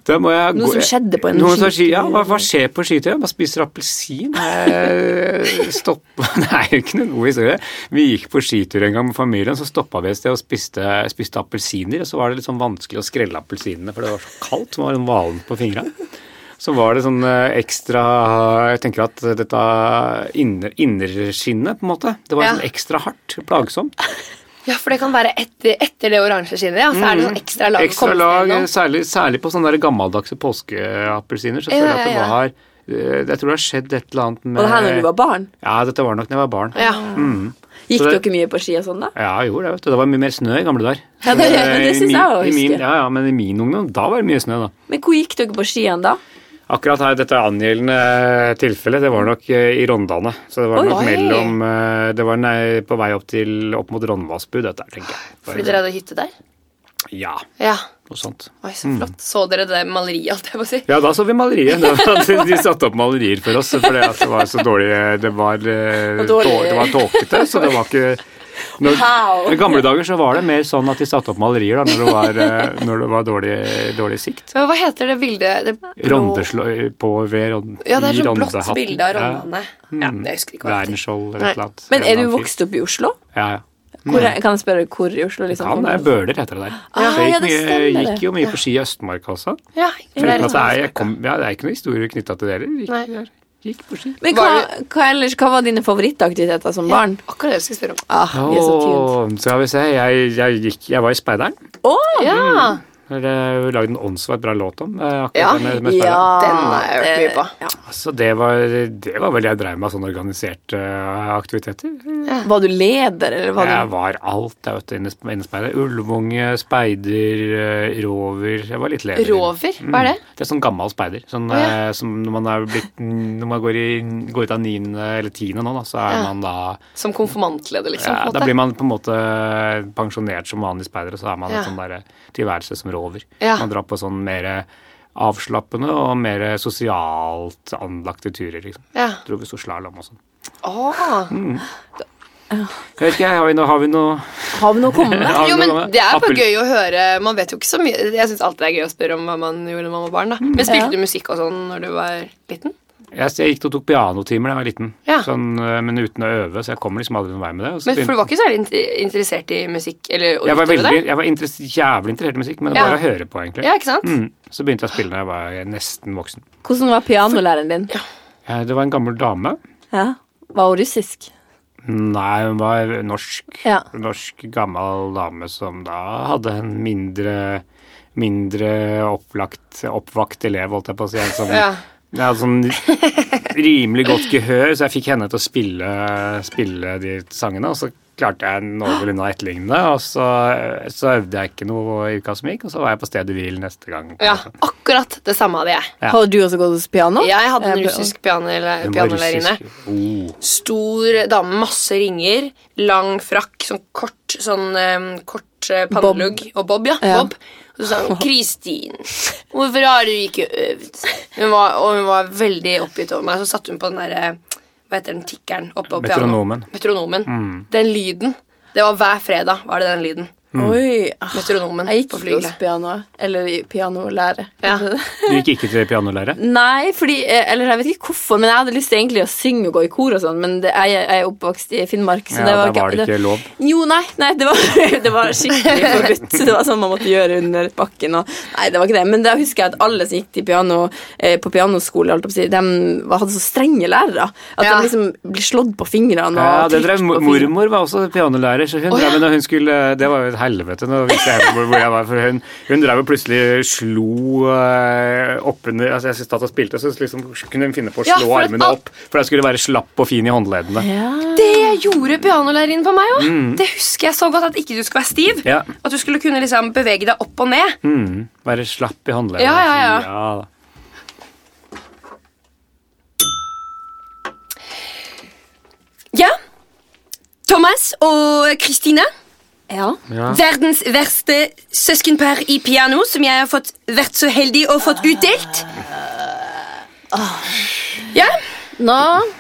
Speaker 3: Da må jeg
Speaker 2: Noe
Speaker 3: gå-
Speaker 2: som skjedde på en
Speaker 3: Noen som skjer-
Speaker 2: skitur.
Speaker 3: Ja, hva, hva skjer på skitur? Man spiser appelsin. Jeg stopper Det er jo ikke noen god historie. Vi gikk på skitur en gang med familien, så stoppa vi et sted og spiste, spiste appelsiner. Og så var det litt sånn vanskelig å skrelle appelsinene, for det var så kaldt. Så var den hvalen på fingra. Så var det sånn eh, ekstra Jeg tenker at dette inner- innerskinnet, på en måte, det var
Speaker 1: Ja.
Speaker 3: sånn ekstra hardt, plagsomt.
Speaker 1: Ja, for det kan være etter, etter det oransje skinnet. Ja, så er det sånn ekstra lag. å
Speaker 3: Ekstra
Speaker 1: komme seg
Speaker 3: lag,
Speaker 1: gjennom.
Speaker 3: særlig, særlig på sånne der gammeldagse påskeappelsiner. Så
Speaker 1: Ja,
Speaker 3: føler jeg at det
Speaker 1: ja, ja.
Speaker 3: var eh, Jeg tror det har skjedd et eller annet med
Speaker 2: Og det her når du var barn?
Speaker 3: Ja, dette var nok da jeg var barn.
Speaker 1: Ja.
Speaker 2: Gikk
Speaker 3: Så det-
Speaker 2: dere mye på ski og sånn, da?
Speaker 3: Ja, jeg gjorde det. vet du. Det var mye mer snø i gamle dager.
Speaker 2: Ja, det-
Speaker 3: Så,
Speaker 2: ja, det
Speaker 3: i
Speaker 2: synes jeg
Speaker 3: min-
Speaker 2: også,
Speaker 3: i min-
Speaker 2: husker jeg.
Speaker 3: Ja, ja, men i min ungdom, da var det mye snø, da.
Speaker 2: Men hvor gikk dere på skiene da?
Speaker 3: Akkurat her, dette angjeldende tilfellet, det var nok eh, i Rondane. Så det var
Speaker 2: Oi.
Speaker 3: nok mellom eh, Det var nei, på vei opp, til, opp mot Rondvassbu, dette her, tenker jeg.
Speaker 1: Fordi dere hadde hytte der?
Speaker 3: Ja,
Speaker 1: Ja.
Speaker 3: noe sånt.
Speaker 1: Oi, så flott. Så dere det maleriet, holdt jeg på å si?
Speaker 3: Ja, da så vi maleriet. Det var at De satte opp malerier for oss fordi at det var så dårlig Det var, eh,
Speaker 2: Og dårlig.
Speaker 3: tå- det var tåkete, så det var ikke når,
Speaker 2: Wow.
Speaker 3: I gamle dager så var det mer sånn at de satte opp malerier da, når det var, eh, når det var dårlig, dårlig sikt.
Speaker 1: Men Hva heter det bildet? Det blå-
Speaker 3: Rondeslå på ved rond,
Speaker 1: Ja, det er
Speaker 3: i
Speaker 1: sånn blått
Speaker 3: rondehatten.
Speaker 1: bilde av
Speaker 3: Ja.
Speaker 1: Rondane. Ja, jeg husker ikke hva det heter.
Speaker 3: Wernskjold eller et eller annet.
Speaker 2: Men
Speaker 3: En
Speaker 2: er
Speaker 3: eller
Speaker 2: du
Speaker 3: annen fyr.
Speaker 2: vokst opp i Oslo?
Speaker 3: Ja, ja.
Speaker 2: Hvor,
Speaker 3: Mm.
Speaker 2: er- kan jeg spørre hvor i Oslo? Liksom,
Speaker 3: Han er Bøler, heter det der.
Speaker 2: Ah,
Speaker 3: Så jeg
Speaker 2: ja,
Speaker 3: gikk,
Speaker 2: det
Speaker 3: mye,
Speaker 2: stemmer det.
Speaker 3: gikk jo mye på ski i Østmarka også.
Speaker 1: Ja,
Speaker 3: Foruten
Speaker 1: det er
Speaker 3: at det er,
Speaker 1: sånn.
Speaker 3: jeg kom, ja, det er ikke noen historier knytta til det heller.
Speaker 1: Nei.
Speaker 3: Gikk, gikk på ski.
Speaker 2: Men hva,
Speaker 1: Var
Speaker 2: hva, ellers, hva var dine favorittaktiviteter som barn?
Speaker 1: Akkurat det jeg skulle spørre om.
Speaker 2: Ah, vi er så tuned.
Speaker 3: Åh, skal vi se. Jeg, jeg, gikk, jeg var i Speideren.
Speaker 2: Åh,
Speaker 1: Ja,
Speaker 3: Det er jo lagd en åndssvakt bra låt om. eh, akkurat
Speaker 1: Ja.
Speaker 3: det med, med
Speaker 2: ja,
Speaker 3: Speideren.
Speaker 1: Den har jeg hørt mye på.
Speaker 2: det- ja.
Speaker 3: Så det var, det var vel jeg dreiv med av sånne organiserte eh, aktiviteter.
Speaker 2: Var du leder, eller var
Speaker 3: Jeg
Speaker 2: du
Speaker 3: var alt der ute inne inne i speider. Ulvunge, speider, eh, rover. Jeg var litt leder.
Speaker 1: Rover? Hva er det?
Speaker 3: Det er sånn gammel speider.
Speaker 1: Å,
Speaker 3: Sånn,
Speaker 1: ja.
Speaker 3: eh, som når man, er blitt, når man går, i, går ut av niende eller tiende nå, da, så er
Speaker 1: Ja.
Speaker 3: man da
Speaker 1: Som konfirmantleder, liksom?
Speaker 3: ja,
Speaker 1: på en
Speaker 3: Da
Speaker 1: måte.
Speaker 3: blir man på en måte pensjonert som vanlig speider, og så er man
Speaker 1: Ja.
Speaker 3: en sånn der tilværelse som rover.
Speaker 1: Ja.
Speaker 3: Man drar på sånn mer avslappende og mer eh, sosialt anlagte turer, liksom.
Speaker 1: Ja.
Speaker 3: Dro vi så slalåm og sånn.
Speaker 1: Åh.
Speaker 3: Mm. Jeg vet ikke, jeg, har vi noe, har vi noe
Speaker 2: Har vi noe å komme med?
Speaker 3: har vi
Speaker 1: Jo, men
Speaker 3: noe med?
Speaker 1: Det er bare
Speaker 3: Appel-
Speaker 1: gøy å høre. Man vet jo ikke så mye. Jeg syns alltid det er gøy å spørre om hva man gjorde når man var barn. da. Men spilte
Speaker 2: Ja.
Speaker 1: du musikk og sånn når du var liten?
Speaker 3: Jeg, jeg gikk og tok pianotimer da jeg var liten,
Speaker 1: Ja.
Speaker 3: sånn, øh, men uten å øve, så jeg kom liksom aldri noen vei med det. Og så
Speaker 1: Men For du
Speaker 3: begynte,
Speaker 1: var ikke særlig inter- interessert i musikk? eller å
Speaker 3: jeg var,
Speaker 1: utøve
Speaker 3: veldig,
Speaker 1: det?
Speaker 3: jeg var interess, jævlig interessert i musikk, men
Speaker 1: Ja.
Speaker 3: bare å høre på, egentlig.
Speaker 1: Ja, ikke sant?
Speaker 3: Mm. Så begynte jeg å spille da jeg var nesten voksen.
Speaker 2: Hvordan var pianolæreren din?
Speaker 3: Eh, Det var en gammel dame.
Speaker 2: Ja. Var hun russisk?
Speaker 3: Nei, hun var norsk.
Speaker 2: Ja.
Speaker 3: Norsk gammel dame som da hadde en mindre, mindre opplagt, oppvakt elev, holdt jeg på å si. En som,
Speaker 1: Ja.
Speaker 3: Jeg hadde sånn rimelig godt gehør, så jeg fikk henne til å spille, spille de sangene. Og så klarte jeg noenlunde å etterligne, og så, så øvde jeg ikke noe i uka som gikk, og så var jeg på stedet hvil neste gang.
Speaker 1: Ja, akkurat det samme hadde jeg.
Speaker 3: Ja.
Speaker 2: Hadde du også gått hos piano?
Speaker 1: Jeg hadde en
Speaker 2: Eh,
Speaker 1: russisk pianolær-
Speaker 3: Hun var
Speaker 1: pianolærerinne.
Speaker 3: russisk. Oh.
Speaker 1: Stor dame, masse ringer, lang frakk, sånn kort sånn eh, kort eh, pannelugg og bob, ja.
Speaker 2: Ja.
Speaker 1: Bob. Og så sa hun 'Kristin, hvorfor har du ikke øvd?' Hun var, og hun var veldig oppgitt over meg. Så satte hun på den derre Hva heter den tikkeren oppe på pianoet?
Speaker 3: Metronomen. Mm.
Speaker 1: Metronomen. Den lyden. Det var hver fredag var det den lyden.
Speaker 3: Mm.
Speaker 2: Oi. ah,
Speaker 1: Metronomen
Speaker 2: Jeg gikk
Speaker 1: på
Speaker 2: ikke hos
Speaker 1: flygelet.
Speaker 2: piano, eller i pianolære.
Speaker 1: Ja.
Speaker 3: Du gikk ikke til pianolære?
Speaker 2: Nei, fordi, eh, eller jeg vet ikke hvorfor, men jeg hadde lyst til egentlig å synge og gå i kor og sånn, men det, jeg, jeg er oppvokst i Finnmark, så
Speaker 3: Ja,
Speaker 2: det var
Speaker 3: da var det ikke lov.
Speaker 2: Jo, nei, nei det, var, det var skikkelig forbudt. Det var sånn man måtte gjøre under bakken. Og, nei, det var ikke det. Men da husker jeg at alle som gikk til piano, eh, på pianoskole, holdt jeg på å si, de var- hadde så strenge lærere at
Speaker 1: Ja.
Speaker 2: de liksom ble slått på fingrene. Og
Speaker 3: Ja, det drev,
Speaker 2: trykt
Speaker 3: mor-
Speaker 2: på fingrene.
Speaker 3: mormor var også pianolærer, så hun
Speaker 1: Å, ja.
Speaker 3: drev når hun skulle Det var jo et helvete nå, hvis jeg hvor, hvor jeg var, for hun, hun drev og plutselig slo eh, oppunder altså Jeg satt og spilte, så liksom kunne hun finne på å
Speaker 1: Ja,
Speaker 3: slå
Speaker 1: for at
Speaker 3: armene
Speaker 1: alt-
Speaker 3: opp, for jeg skulle være slapp og fin i håndleddene.
Speaker 2: Ja.
Speaker 1: Det gjorde pianolærerinnen på meg òg. Det husker jeg så godt. At ikke du skulle være stiv.
Speaker 3: Mm. Ja.
Speaker 1: At du skulle kunne liksom bevege deg opp og ned.
Speaker 3: Mm, være slapp i håndleddene.
Speaker 1: Ja, ja, ja.
Speaker 3: da.
Speaker 1: Ja. Thomas og Kristine.
Speaker 2: Ja.
Speaker 3: Ja.
Speaker 1: Verdens verste søskenpar i piano, som jeg har fått, vært så heldig å fått utdelt. Ja,
Speaker 2: Nå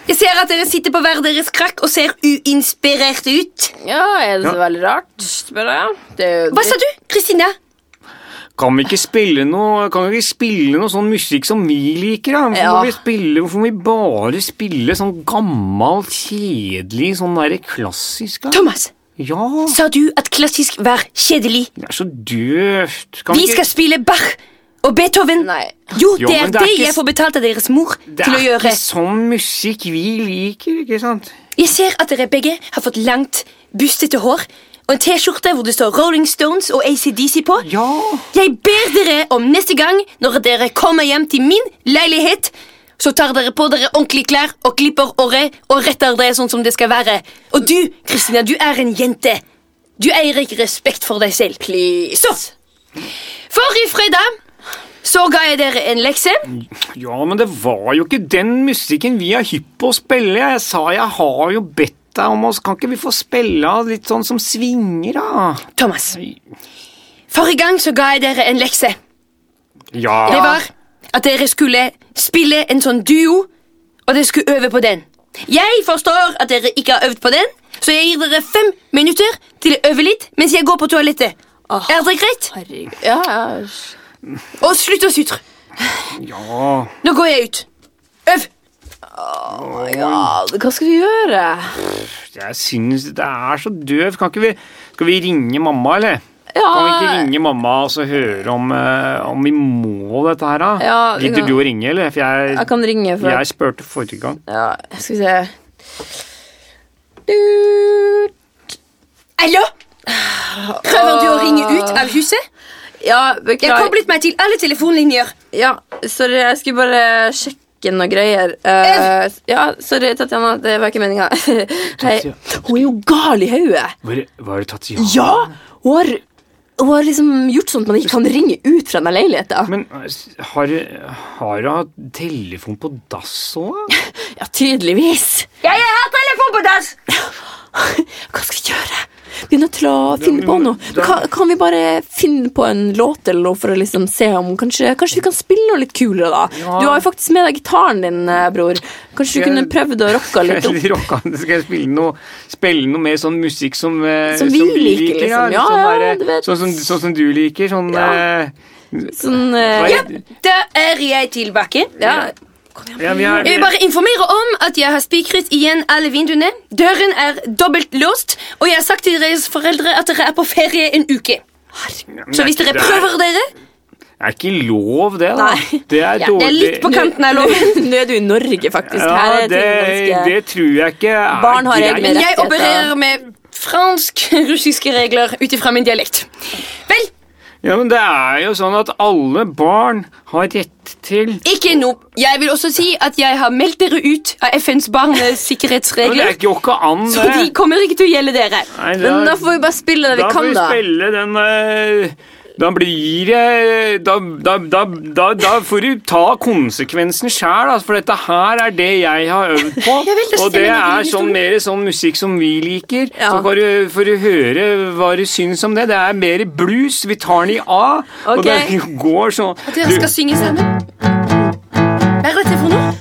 Speaker 1: Jeg ser at dere sitter på hver deres krakk og ser uinspirerte ut.
Speaker 2: ja, er det så veldig rart, spør jeg. Det er jo
Speaker 1: Hva sa du, Kristine?
Speaker 3: Kan vi ikke spille noe Kan vi ikke spille noe sånn musikk som vi liker, da? Hvorfor,
Speaker 2: Ja.
Speaker 3: må vi spille, hvorfor må vi bare spille sånn gammal, kjedelig, sånn derre klassisk? da?
Speaker 1: Thomas,
Speaker 3: Ja,
Speaker 1: sa du at klassisk var kjedelig?
Speaker 3: det er så døvt. Kan
Speaker 1: Vi
Speaker 3: ikke-
Speaker 1: skal spille Bach og Beethoven.
Speaker 2: Nei.
Speaker 1: Jo,
Speaker 3: Jo,
Speaker 1: det er
Speaker 3: men det er
Speaker 1: det
Speaker 3: ikke
Speaker 1: jeg
Speaker 3: s-
Speaker 1: får betalt av deres mor
Speaker 3: Det
Speaker 1: til
Speaker 3: er
Speaker 1: å gjøre.
Speaker 3: ikke sånn musikk vi liker, ikke sant?
Speaker 1: Jeg ser at dere begge har fått langt, bustete hår og en T-skjorte hvor det står Rolling Stones og ACDC på.
Speaker 3: Ja.
Speaker 1: Jeg ber dere om neste gang, når dere kommer hjem til min leilighet, så tar dere på dere ordentlige klær og klipper håret og retter det sånn som det skal være. Og du, Kristina, du er en jente. Du eier ikke respekt for deg selv. Please. Så, forrige fredag så ga jeg dere en lekse.
Speaker 3: Ja, men det var jo ikke den musikken vi er hypp på å spille. Jeg sa jeg har jo bedt deg om oss. Kan ikke vi få spille av litt sånn som svinger, da?
Speaker 1: Thomas, forrige gang så ga jeg dere en lekse.
Speaker 3: Ja.
Speaker 1: Det var at dere skulle spille en sånn duo, og dere skulle øve på den. Jeg forstår at dere ikke har øvd på den, så jeg gir dere fem minutter til å øve litt mens jeg går på toalettet. Er det greit?
Speaker 2: Herregud. Ja, ja.
Speaker 1: Og slutt å sutre.
Speaker 3: ja.
Speaker 1: Nå går jeg ut. Øv.
Speaker 2: Ja, Hva skal vi gjøre?
Speaker 3: Jeg syns det er så døv. Kan ikke vi Skal vi ringe mamma, eller?
Speaker 2: Ja,
Speaker 3: Kan vi ikke
Speaker 1: Ah.
Speaker 3: ringe mamma og så høre om, eh, om vi må dette her, da?
Speaker 2: Ja, vi
Speaker 3: Gidder
Speaker 2: kan-
Speaker 3: du å ringe, eller? For jeg,
Speaker 2: jeg kan ringe for
Speaker 3: jeg spurte forrige gang.
Speaker 2: ja, Skal vi se Dut.
Speaker 1: Hallo? Prøver du å ringe ut av huset?
Speaker 2: Ja,
Speaker 1: Jeg har
Speaker 2: beklager.
Speaker 1: koblet meg til alle telefonlinjer.
Speaker 2: Ja, sorry, jeg skulle bare sjekke noen greier. Eh, ja, sorry, Tatjana, det var ikke meninga. Hei. Hun er jo gal i hodet!
Speaker 3: Hvor, var det Tatjana?
Speaker 2: Ja! Hun har, hun har liksom gjort sånn at man ikke kan ringe ut fra den leiligheten.
Speaker 3: Men eh, s- har har du hatt telefon på dass òg?
Speaker 2: Ja, tydeligvis.
Speaker 1: Jeg har telefon på dass!
Speaker 2: Hva skal vi gjøre? Vi er nødt til å finne
Speaker 3: men-
Speaker 2: på noe.
Speaker 3: da-
Speaker 2: Kan, kan vi bare finne på en låt eller noe for å liksom se om Kanskje, kanskje vi kan spille noe litt kulere, da?
Speaker 3: Ja.
Speaker 2: Du har jo faktisk med deg gitaren din, eh, bror. Kanskje du
Speaker 3: Jeg-
Speaker 2: kunne prøvd å rocke litt opp?
Speaker 3: Eller rocka, skal jeg spille noe, spille noe mer sånn musikk som eh,
Speaker 2: Som vi liker, liksom.
Speaker 3: litt
Speaker 2: Ja,
Speaker 3: sånn,
Speaker 2: ja,
Speaker 3: derre-
Speaker 2: du vet.
Speaker 3: sånn, som, sånn som du liker. Sånn
Speaker 2: Ja.
Speaker 3: eh,
Speaker 2: Sånn eh,
Speaker 3: hva
Speaker 1: Ja,
Speaker 3: er-
Speaker 1: da er jeg tilbake.
Speaker 2: ja.
Speaker 3: ja, vi er,
Speaker 1: Jeg vil bare informere om at jeg har spikret igjen alle vinduene. Døren er dobbelt låst, og jeg har sagt til deres foreldre at dere er på ferie en uke. Så hvis dere
Speaker 3: Det er-
Speaker 1: prøver dere
Speaker 3: Det er ikke lov, det, da.
Speaker 1: Nei.
Speaker 3: Det
Speaker 1: ja,
Speaker 3: er
Speaker 1: Det er
Speaker 3: dårlig.
Speaker 1: litt på kanten av loven.
Speaker 2: Nå er du i Norge, faktisk. Her
Speaker 3: Ja,
Speaker 2: er
Speaker 3: det,
Speaker 2: ting
Speaker 3: det
Speaker 2: ganske
Speaker 3: tror jeg ikke er
Speaker 2: Barn har egne
Speaker 1: Men
Speaker 2: rettigheter.
Speaker 3: greit.
Speaker 1: jeg opererer med fransk-russiske regler ut ifra min dialekt. Vel,
Speaker 3: Ja, men det er jo sånn at alle barn har rett til
Speaker 1: ikke nå. Jeg vil også si at jeg har meldt dere ut av FNs
Speaker 3: Men det
Speaker 1: barnesikkerhetsregler.
Speaker 3: er jo ikke an, det.
Speaker 1: Så de kommer ikke til å gjelde dere.
Speaker 3: Nei, det
Speaker 2: Men
Speaker 3: er-
Speaker 2: da får vi bare spille det vi
Speaker 3: da
Speaker 2: kan,
Speaker 3: får vi
Speaker 2: da.
Speaker 3: spille den eh, Da blir jeg da, da, da, da, da får du ta konsekvensen sjæl, altså, for dette her er det jeg har øvd på.
Speaker 1: Ja vel, det
Speaker 3: og det
Speaker 1: stemmer, men det
Speaker 3: er
Speaker 1: er
Speaker 3: sånn
Speaker 1: historie.
Speaker 3: mer sånn musikk som vi liker.
Speaker 2: Ja.
Speaker 3: Så får du, får du høre hva du syns om det. Det er mer blues. Vi tar den i A,
Speaker 2: Ok.
Speaker 3: og det går sånn
Speaker 1: Dere skal synge sammen. Hva er dette for noe?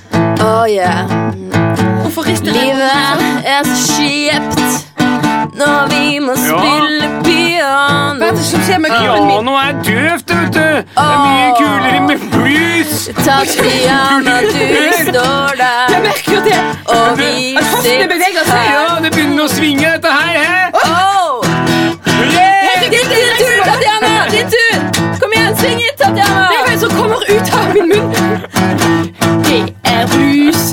Speaker 2: Oh, yeah.
Speaker 1: Hvorfor rister dere?
Speaker 2: Livet er så kjipt når vi må spille
Speaker 1: Hva er
Speaker 2: piano.
Speaker 1: det som skjer med kroppen min?
Speaker 3: Piano er døvt, vet du! Det er mye
Speaker 2: Åh.
Speaker 3: kulere med blues!
Speaker 2: Tatiana, du står
Speaker 1: Jeg
Speaker 2: der,
Speaker 1: merker det!
Speaker 2: og vi
Speaker 1: At hoftene
Speaker 2: sitter
Speaker 1: beveger seg!
Speaker 2: her.
Speaker 3: Ja, det begynner å svinge, dette her!
Speaker 2: Oh!
Speaker 3: Hæ? Yeah!
Speaker 2: Din din tur, Tatjana! Din tur! Kom igjen, sving it,
Speaker 1: Det er
Speaker 2: Tatjana!
Speaker 1: hva som kommer ut av min munn. Det er blues.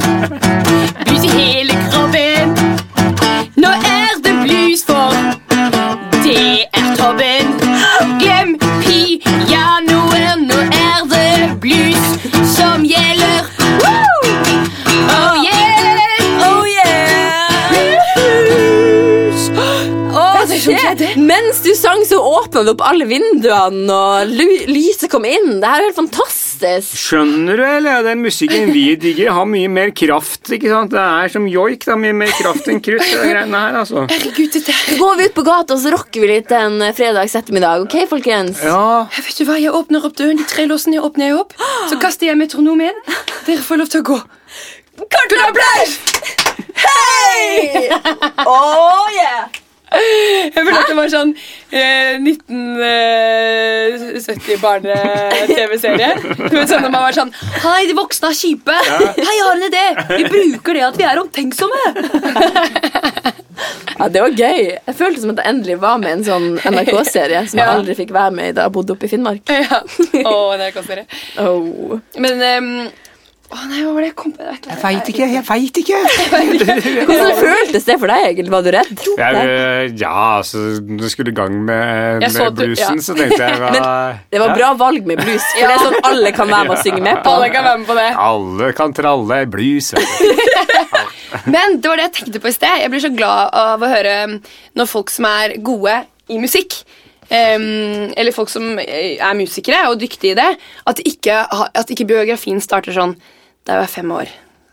Speaker 1: Blues i hele kroppen. Nå er det blues for det er toppen. Glem pianoet, nå er det blues som gjelder. Woo! Oh yeah!
Speaker 2: Oh yeah!
Speaker 1: Blues.
Speaker 2: Åh,
Speaker 1: Hva er det som
Speaker 2: shit.
Speaker 1: skjedde?
Speaker 2: Mens du sang, så åpna du opp alle vinduene, og lu- lyset kom inn. Det her er jo helt fantastisk.
Speaker 3: Skjønner du, eller? Den musikken vi digger, har mye mer kraft. ikke sant? Det er som joik. Det har mye mer kraft enn krutt. Det greiene her, altså.
Speaker 1: Herregud, dette her.
Speaker 2: Så går vi ut på gata og så rocker vi litt en eh, fredags ettermiddag. Ok, folkens?
Speaker 3: Ja,
Speaker 1: Jeg vet du hva, jeg åpner opp døren, de tre låsene jeg åpner jeg opp, så kaster jeg metronomen. Dere får lov til å gå. Karten applaus!
Speaker 2: Hey! Oh, yeah!
Speaker 1: Jeg føler at det var sånn eh, 1970-barne-TV-serie. Du vet sånn når man var sånn Hei, de voksne er kjipe. Hei, jeg har en idé. Vi bruker det at vi er omtenksomme.
Speaker 2: Ja, Det var gøy. Jeg følte som at jeg endelig var med i en sånn NRK-serie som jeg
Speaker 1: Ja.
Speaker 2: aldri fikk være med i da jeg bodde oppe i Finnmark.
Speaker 1: Ja. Å, det er kostbare.
Speaker 2: Oh.
Speaker 1: Men ehm, Å nei, hva var det jeg kom på? Det er et eller
Speaker 3: Jeg
Speaker 1: annet.
Speaker 3: veit ikke, jeg veit ikke!
Speaker 2: Hvordan føltes det for deg, egentlig? Var du redd?
Speaker 3: Jeg, ja, altså, du skulle i gang med,
Speaker 1: Jeg så
Speaker 3: med
Speaker 1: at du-
Speaker 3: bluesen,
Speaker 1: ja.
Speaker 3: så tenkte jeg hva,
Speaker 2: Det var
Speaker 3: Ja,
Speaker 2: bra valg med blues, for det er sånn alle kan være med og synge med på.
Speaker 1: Alle kan være med på det.
Speaker 3: Alle kan tralle blues. vet du.
Speaker 1: Men det var det jeg tenkte på i sted. Jeg blir så glad av å høre um, når folk som er gode i musikk, um, eller folk som eh, er musikere og dyktige i det, at ikke, ha- at ikke biografien starter sånn Da jeg var fem år,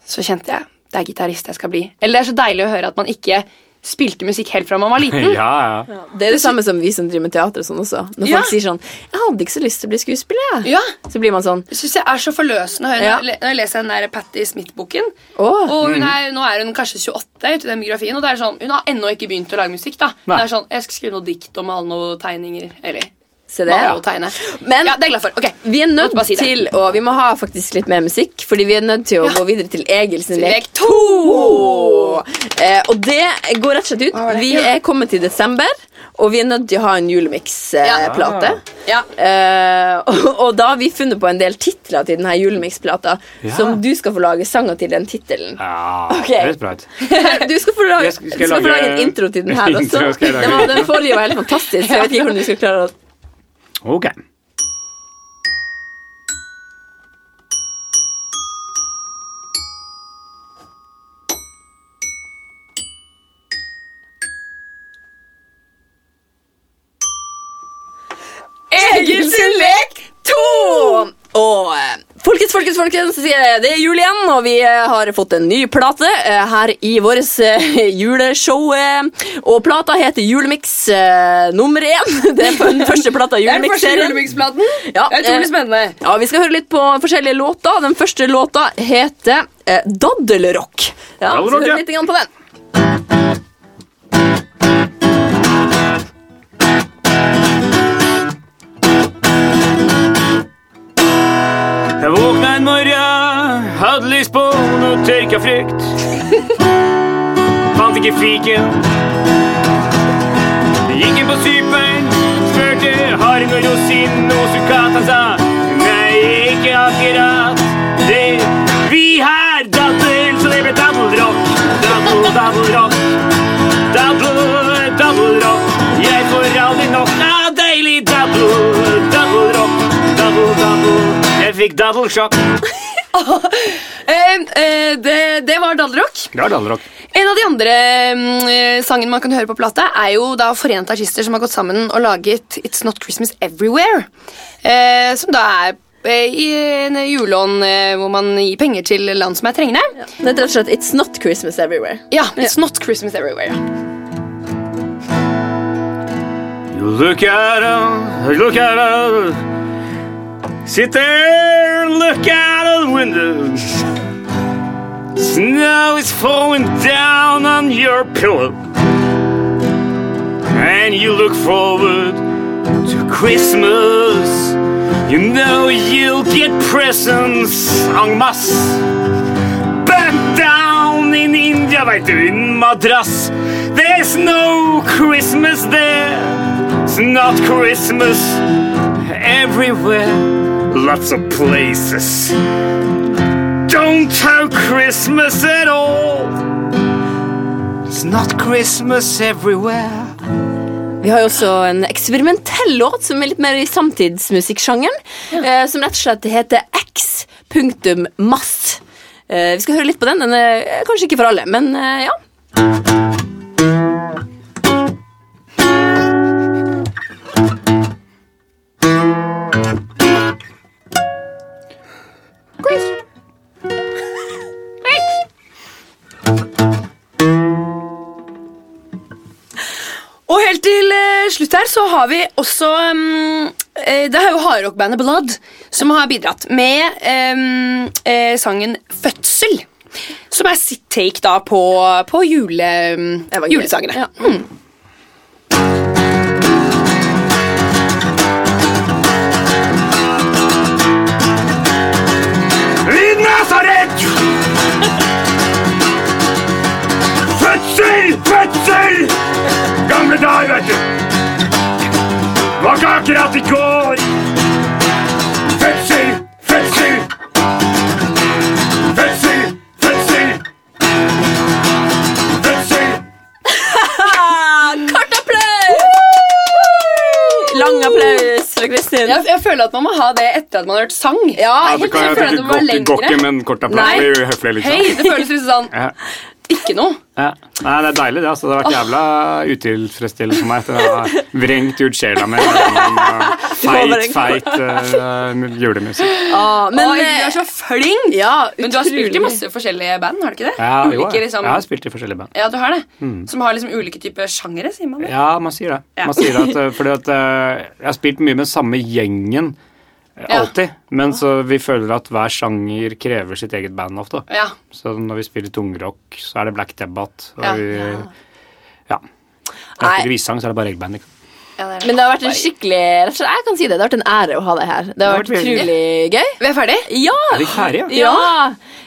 Speaker 1: så kjente jeg det er gitarist jeg skal bli. Eller det er så deilig å høre at man ikke spilte musikk helt fra man var liten.
Speaker 3: Ja, ja.
Speaker 2: Det er det samme som vi som driver med teater og sånn også. Når
Speaker 1: Ja.
Speaker 2: folk sier sånn 'Jeg hadde ikke så lyst til å bli skuespiller', jeg.
Speaker 1: Ja.
Speaker 2: Så blir man sånn
Speaker 1: Det syns jeg er så forløsende å høre
Speaker 2: Ja.
Speaker 1: når, jeg le- når jeg leser den der Patti Smith-boken.
Speaker 2: Åh.
Speaker 1: Og hun er, Nå er hun kanskje 28, ute i den biografien, og det er sånn, hun har ennå ikke begynt å lage musikk. da.
Speaker 3: Nei.
Speaker 1: Det er sånn, Jeg skal skrive noe dikt og male noen tegninger. Eller
Speaker 2: Se det.
Speaker 1: male og tegne.
Speaker 2: Men-
Speaker 1: ja, det er jeg glad for. Ok,
Speaker 2: Vi er nødt
Speaker 1: Måtte bare si det.
Speaker 2: til å Vi må ha faktisk litt mer musikk, fordi vi er nødt til å
Speaker 1: Ja.
Speaker 2: gå videre til Egil sin lek
Speaker 1: Lek to!
Speaker 2: Eh, og det går rett og slett ut.
Speaker 1: var det?
Speaker 2: Vi
Speaker 1: Ja.
Speaker 2: er kommet til desember, og vi er nødt til å ha en
Speaker 1: Ja.
Speaker 2: julemiksplate.
Speaker 1: Ja.
Speaker 2: Eh, og, og da har vi funnet på en del titler til denne julemiksplata,
Speaker 3: Ja.
Speaker 2: som du skal få lage sanger til den tittelen.
Speaker 3: ja
Speaker 2: Ok.
Speaker 3: det høres bra ut.
Speaker 2: Du skal få lage,
Speaker 3: Jeg
Speaker 2: skal
Speaker 3: skal- skal
Speaker 2: skal
Speaker 3: jeg
Speaker 2: få
Speaker 3: lage-
Speaker 2: lage en intro til den her også.
Speaker 3: Intro skal jeg lage.
Speaker 2: Den, var, den forrige var helt fantastisk. Jeg vet ikke hvordan du skal klare å
Speaker 3: Ok.
Speaker 2: Egil sin lek 2! Og eh, folkens, folkens, folkens, sier jeg, det er jul igjen, og vi eh, har fått en ny plate eh, her i vårt juleshow. eh, Og plata heter Julemix eh, nummer én. Det er den første plata i
Speaker 1: Det er den første
Speaker 2: Julemix-serien.
Speaker 1: julemiksplaten.
Speaker 2: Ja,
Speaker 1: det er
Speaker 2: eh,
Speaker 1: utrolig spennende.
Speaker 2: Ja, Vi skal høre litt på forskjellige låter. Den første låta heter eh, Daddelrock. Ja, vi
Speaker 3: Daddelrock,
Speaker 2: skal
Speaker 3: ja.
Speaker 2: høre litt grann på den.
Speaker 3: Jeg våkna en morgen, hadde lyst på noe tørka frukt. Fant ikke fiken. Jeg Gikk inn på superen, spurte har du noe rosin og sukkat. Han sa nei, ikke akkurat det. Vi har daddel, så det ble daddelrock. Daddel, daddelrock. Daddel, daddelrock. Jeg får aldri nok av deilig daddel, daddelrock. Daddel, daddel. Jeg fikk daddelsjokk.
Speaker 1: Eh, eh, det, det var Dalrock.
Speaker 3: Det var daddelrock.
Speaker 1: En av de andre mm, sangene man kan høre på plata, er jo da forente artister som har gått sammen og laget It's Not Christmas Everywhere. Eh, som da er eh, i en julelån eh, hvor man gir penger til land som er trengende. Ja,
Speaker 2: Det heter rett og slett It's Not Christmas Everywhere.
Speaker 1: It's Not Christmas Everywhere. ja.
Speaker 3: You look at it, look at it. Sit there, look out of the window. Snow is falling down on your pillow. And you look forward to Christmas. You know you'll get presents en masse. Burnt down in India, veit du, in madrass. There's no Christmas there. It's not Christmas everywhere. Lots of places don't have Christmas at all. It's not Christmas everywhere.
Speaker 2: Vi har jo også en eksperimentell låt som er litt mer i samtidsmusikksjangeren. eh, som rett og slett heter X punktum mass. Eh, vi skal høre litt på den. Den er eh, kanskje ikke for alle, men eh, ja.
Speaker 1: Og helt til eh, slutt her så har vi også mm, eh, Det er jo hardrockbandet Blood som har bidratt med em, eh, sangen Fødsel. Som er sitt take da på, på jule, mm, julesangene.
Speaker 2: Ja.
Speaker 3: I Nazaret! Fødsel! Fødsel! Gamle dager, vet du. Var ikke akkurat i går. Fødsel! Fødsel!
Speaker 1: Jeg, jeg føler at man må ha det etter at man har hørt sang.
Speaker 2: Ja,
Speaker 1: Jeg er
Speaker 4: Altså,
Speaker 1: helt
Speaker 4: kan jeg
Speaker 1: enig, jeg føler at det må være
Speaker 4: tenke gokke,
Speaker 1: lengre.
Speaker 4: men kort
Speaker 1: Nei.
Speaker 4: applaus blir uhøflig,
Speaker 1: Hei,
Speaker 4: liksom.
Speaker 1: det føles litt sånn
Speaker 3: Ja.
Speaker 1: Ikke noe.
Speaker 3: Ja. Nei, det er deilig, det. altså. Det har vært jævla utilfredsstillende for meg etter å ha vrengt ut sjela mi gjennom eh, feit, feit eh, julemusikk.
Speaker 2: Ah, men,
Speaker 1: Oi,
Speaker 2: eh,
Speaker 1: du er så flink!
Speaker 2: ja,
Speaker 1: Men du har spilt i
Speaker 2: utrolig.
Speaker 1: masse forskjellige band, har du ikke det?
Speaker 3: Ja, jo,
Speaker 1: Ulike,
Speaker 3: jeg,
Speaker 1: liksom,
Speaker 3: jeg har spilt i forskjellige band.
Speaker 1: ja, du har det. Som har liksom ulike typer sjangere, sier man det.
Speaker 3: Ja, man sier det.
Speaker 1: Ja.
Speaker 3: Man sier det at, eh, fordi at eh, jeg har spilt mye med samme gjengen eh,
Speaker 1: Ja.
Speaker 3: alltid, men så vi føler at hver sjanger krever sitt eget band ofte.
Speaker 1: Ja.
Speaker 3: Så når vi spiller tungrock, så er det Black Debbat. Og
Speaker 1: Ja.
Speaker 3: vi, ja. Når
Speaker 2: Nei.
Speaker 3: jeg spiller visesang, så er det bare eget band. ikke?
Speaker 1: ja det er det.
Speaker 2: Men det har vært en skikkelig rett og slett, Jeg kan si det, det har vært en ære å ha deg her. Det har
Speaker 3: Det
Speaker 2: vært
Speaker 3: har vært
Speaker 2: utrolig gøy.
Speaker 1: Vi er ferdig?
Speaker 2: Ja!
Speaker 3: Er vi ferdige?
Speaker 2: ja.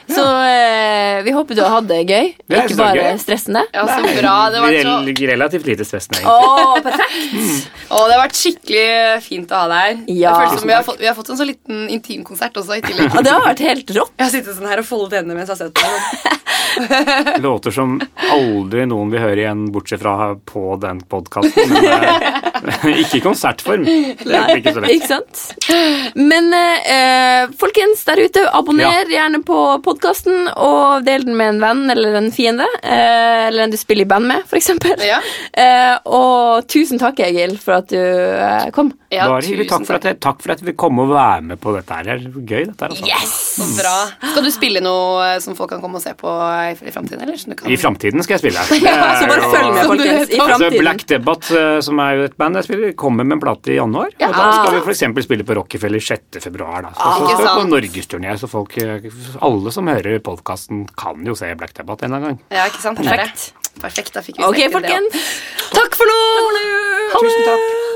Speaker 2: Så eh, vi håper du har hatt det gøy.
Speaker 3: Det er
Speaker 2: Ikke
Speaker 3: så
Speaker 2: bare
Speaker 3: gøy.
Speaker 2: stressende.
Speaker 1: Ja, så bra. Det var så
Speaker 3: Rel relativt lite stressende, egentlig.
Speaker 1: Å, perfekt! Å, det har vært skikkelig fint å ha deg her.
Speaker 2: Ja.
Speaker 1: Det føles som vi har, fått, vi har fått en så liten intimkonsert også i tillegg.
Speaker 2: Ja, det har vært helt rått.
Speaker 1: Jeg har sittet sånn her og foldet hendene mens jeg har sett deg.
Speaker 3: Låter som aldri noen vil høre igjen, bortsett fra på den podkasten. ikke i konsertform. Det er ikke så lett.
Speaker 2: Ikke sant? Men eh, eh, folkens der ute, abonner gjerne på podkasten, og del den med en venn eller en fiende. eh, eller en du spiller i band med, f.eks.
Speaker 1: Ja.
Speaker 2: og tusen takk, Egil, for at du eh, kom.
Speaker 1: Ja,
Speaker 3: Bare hyggelig. Takk, for at jeg- takk for at vi kom og være med på dette her. Det er Gøy, dette her. Altså.
Speaker 1: Yes! Så bra. Skal du spille noe eh, som folk kan komme og se på i i fremtiden, eller? Som du kan...
Speaker 3: I framtiden skal jeg spille her.
Speaker 2: Så
Speaker 3: Det er
Speaker 2: bare
Speaker 3: jo-
Speaker 2: følg med,
Speaker 1: Som du
Speaker 2: folkens, i
Speaker 1: vet om.
Speaker 3: Altså,
Speaker 2: framtiden.
Speaker 3: Black Debbat, eh, som er jo et band jeg spiller, kommer med en plate i januar. Og da skal vi f.eks. spille på Rockefeller 6. februar. Da. Så, så
Speaker 1: Ikke
Speaker 3: skal vi på
Speaker 1: sant.
Speaker 3: norgesturné, så folk, eh, alle som hører podkasten, kan jo se Black Debbat en eller annen gang.
Speaker 1: Ja, ikke sant? Perfekt. Perfekt, da fikk vi
Speaker 2: Ok,
Speaker 1: sneket det opp.
Speaker 2: folkens.
Speaker 1: Takk for nå!
Speaker 3: Tusen takk.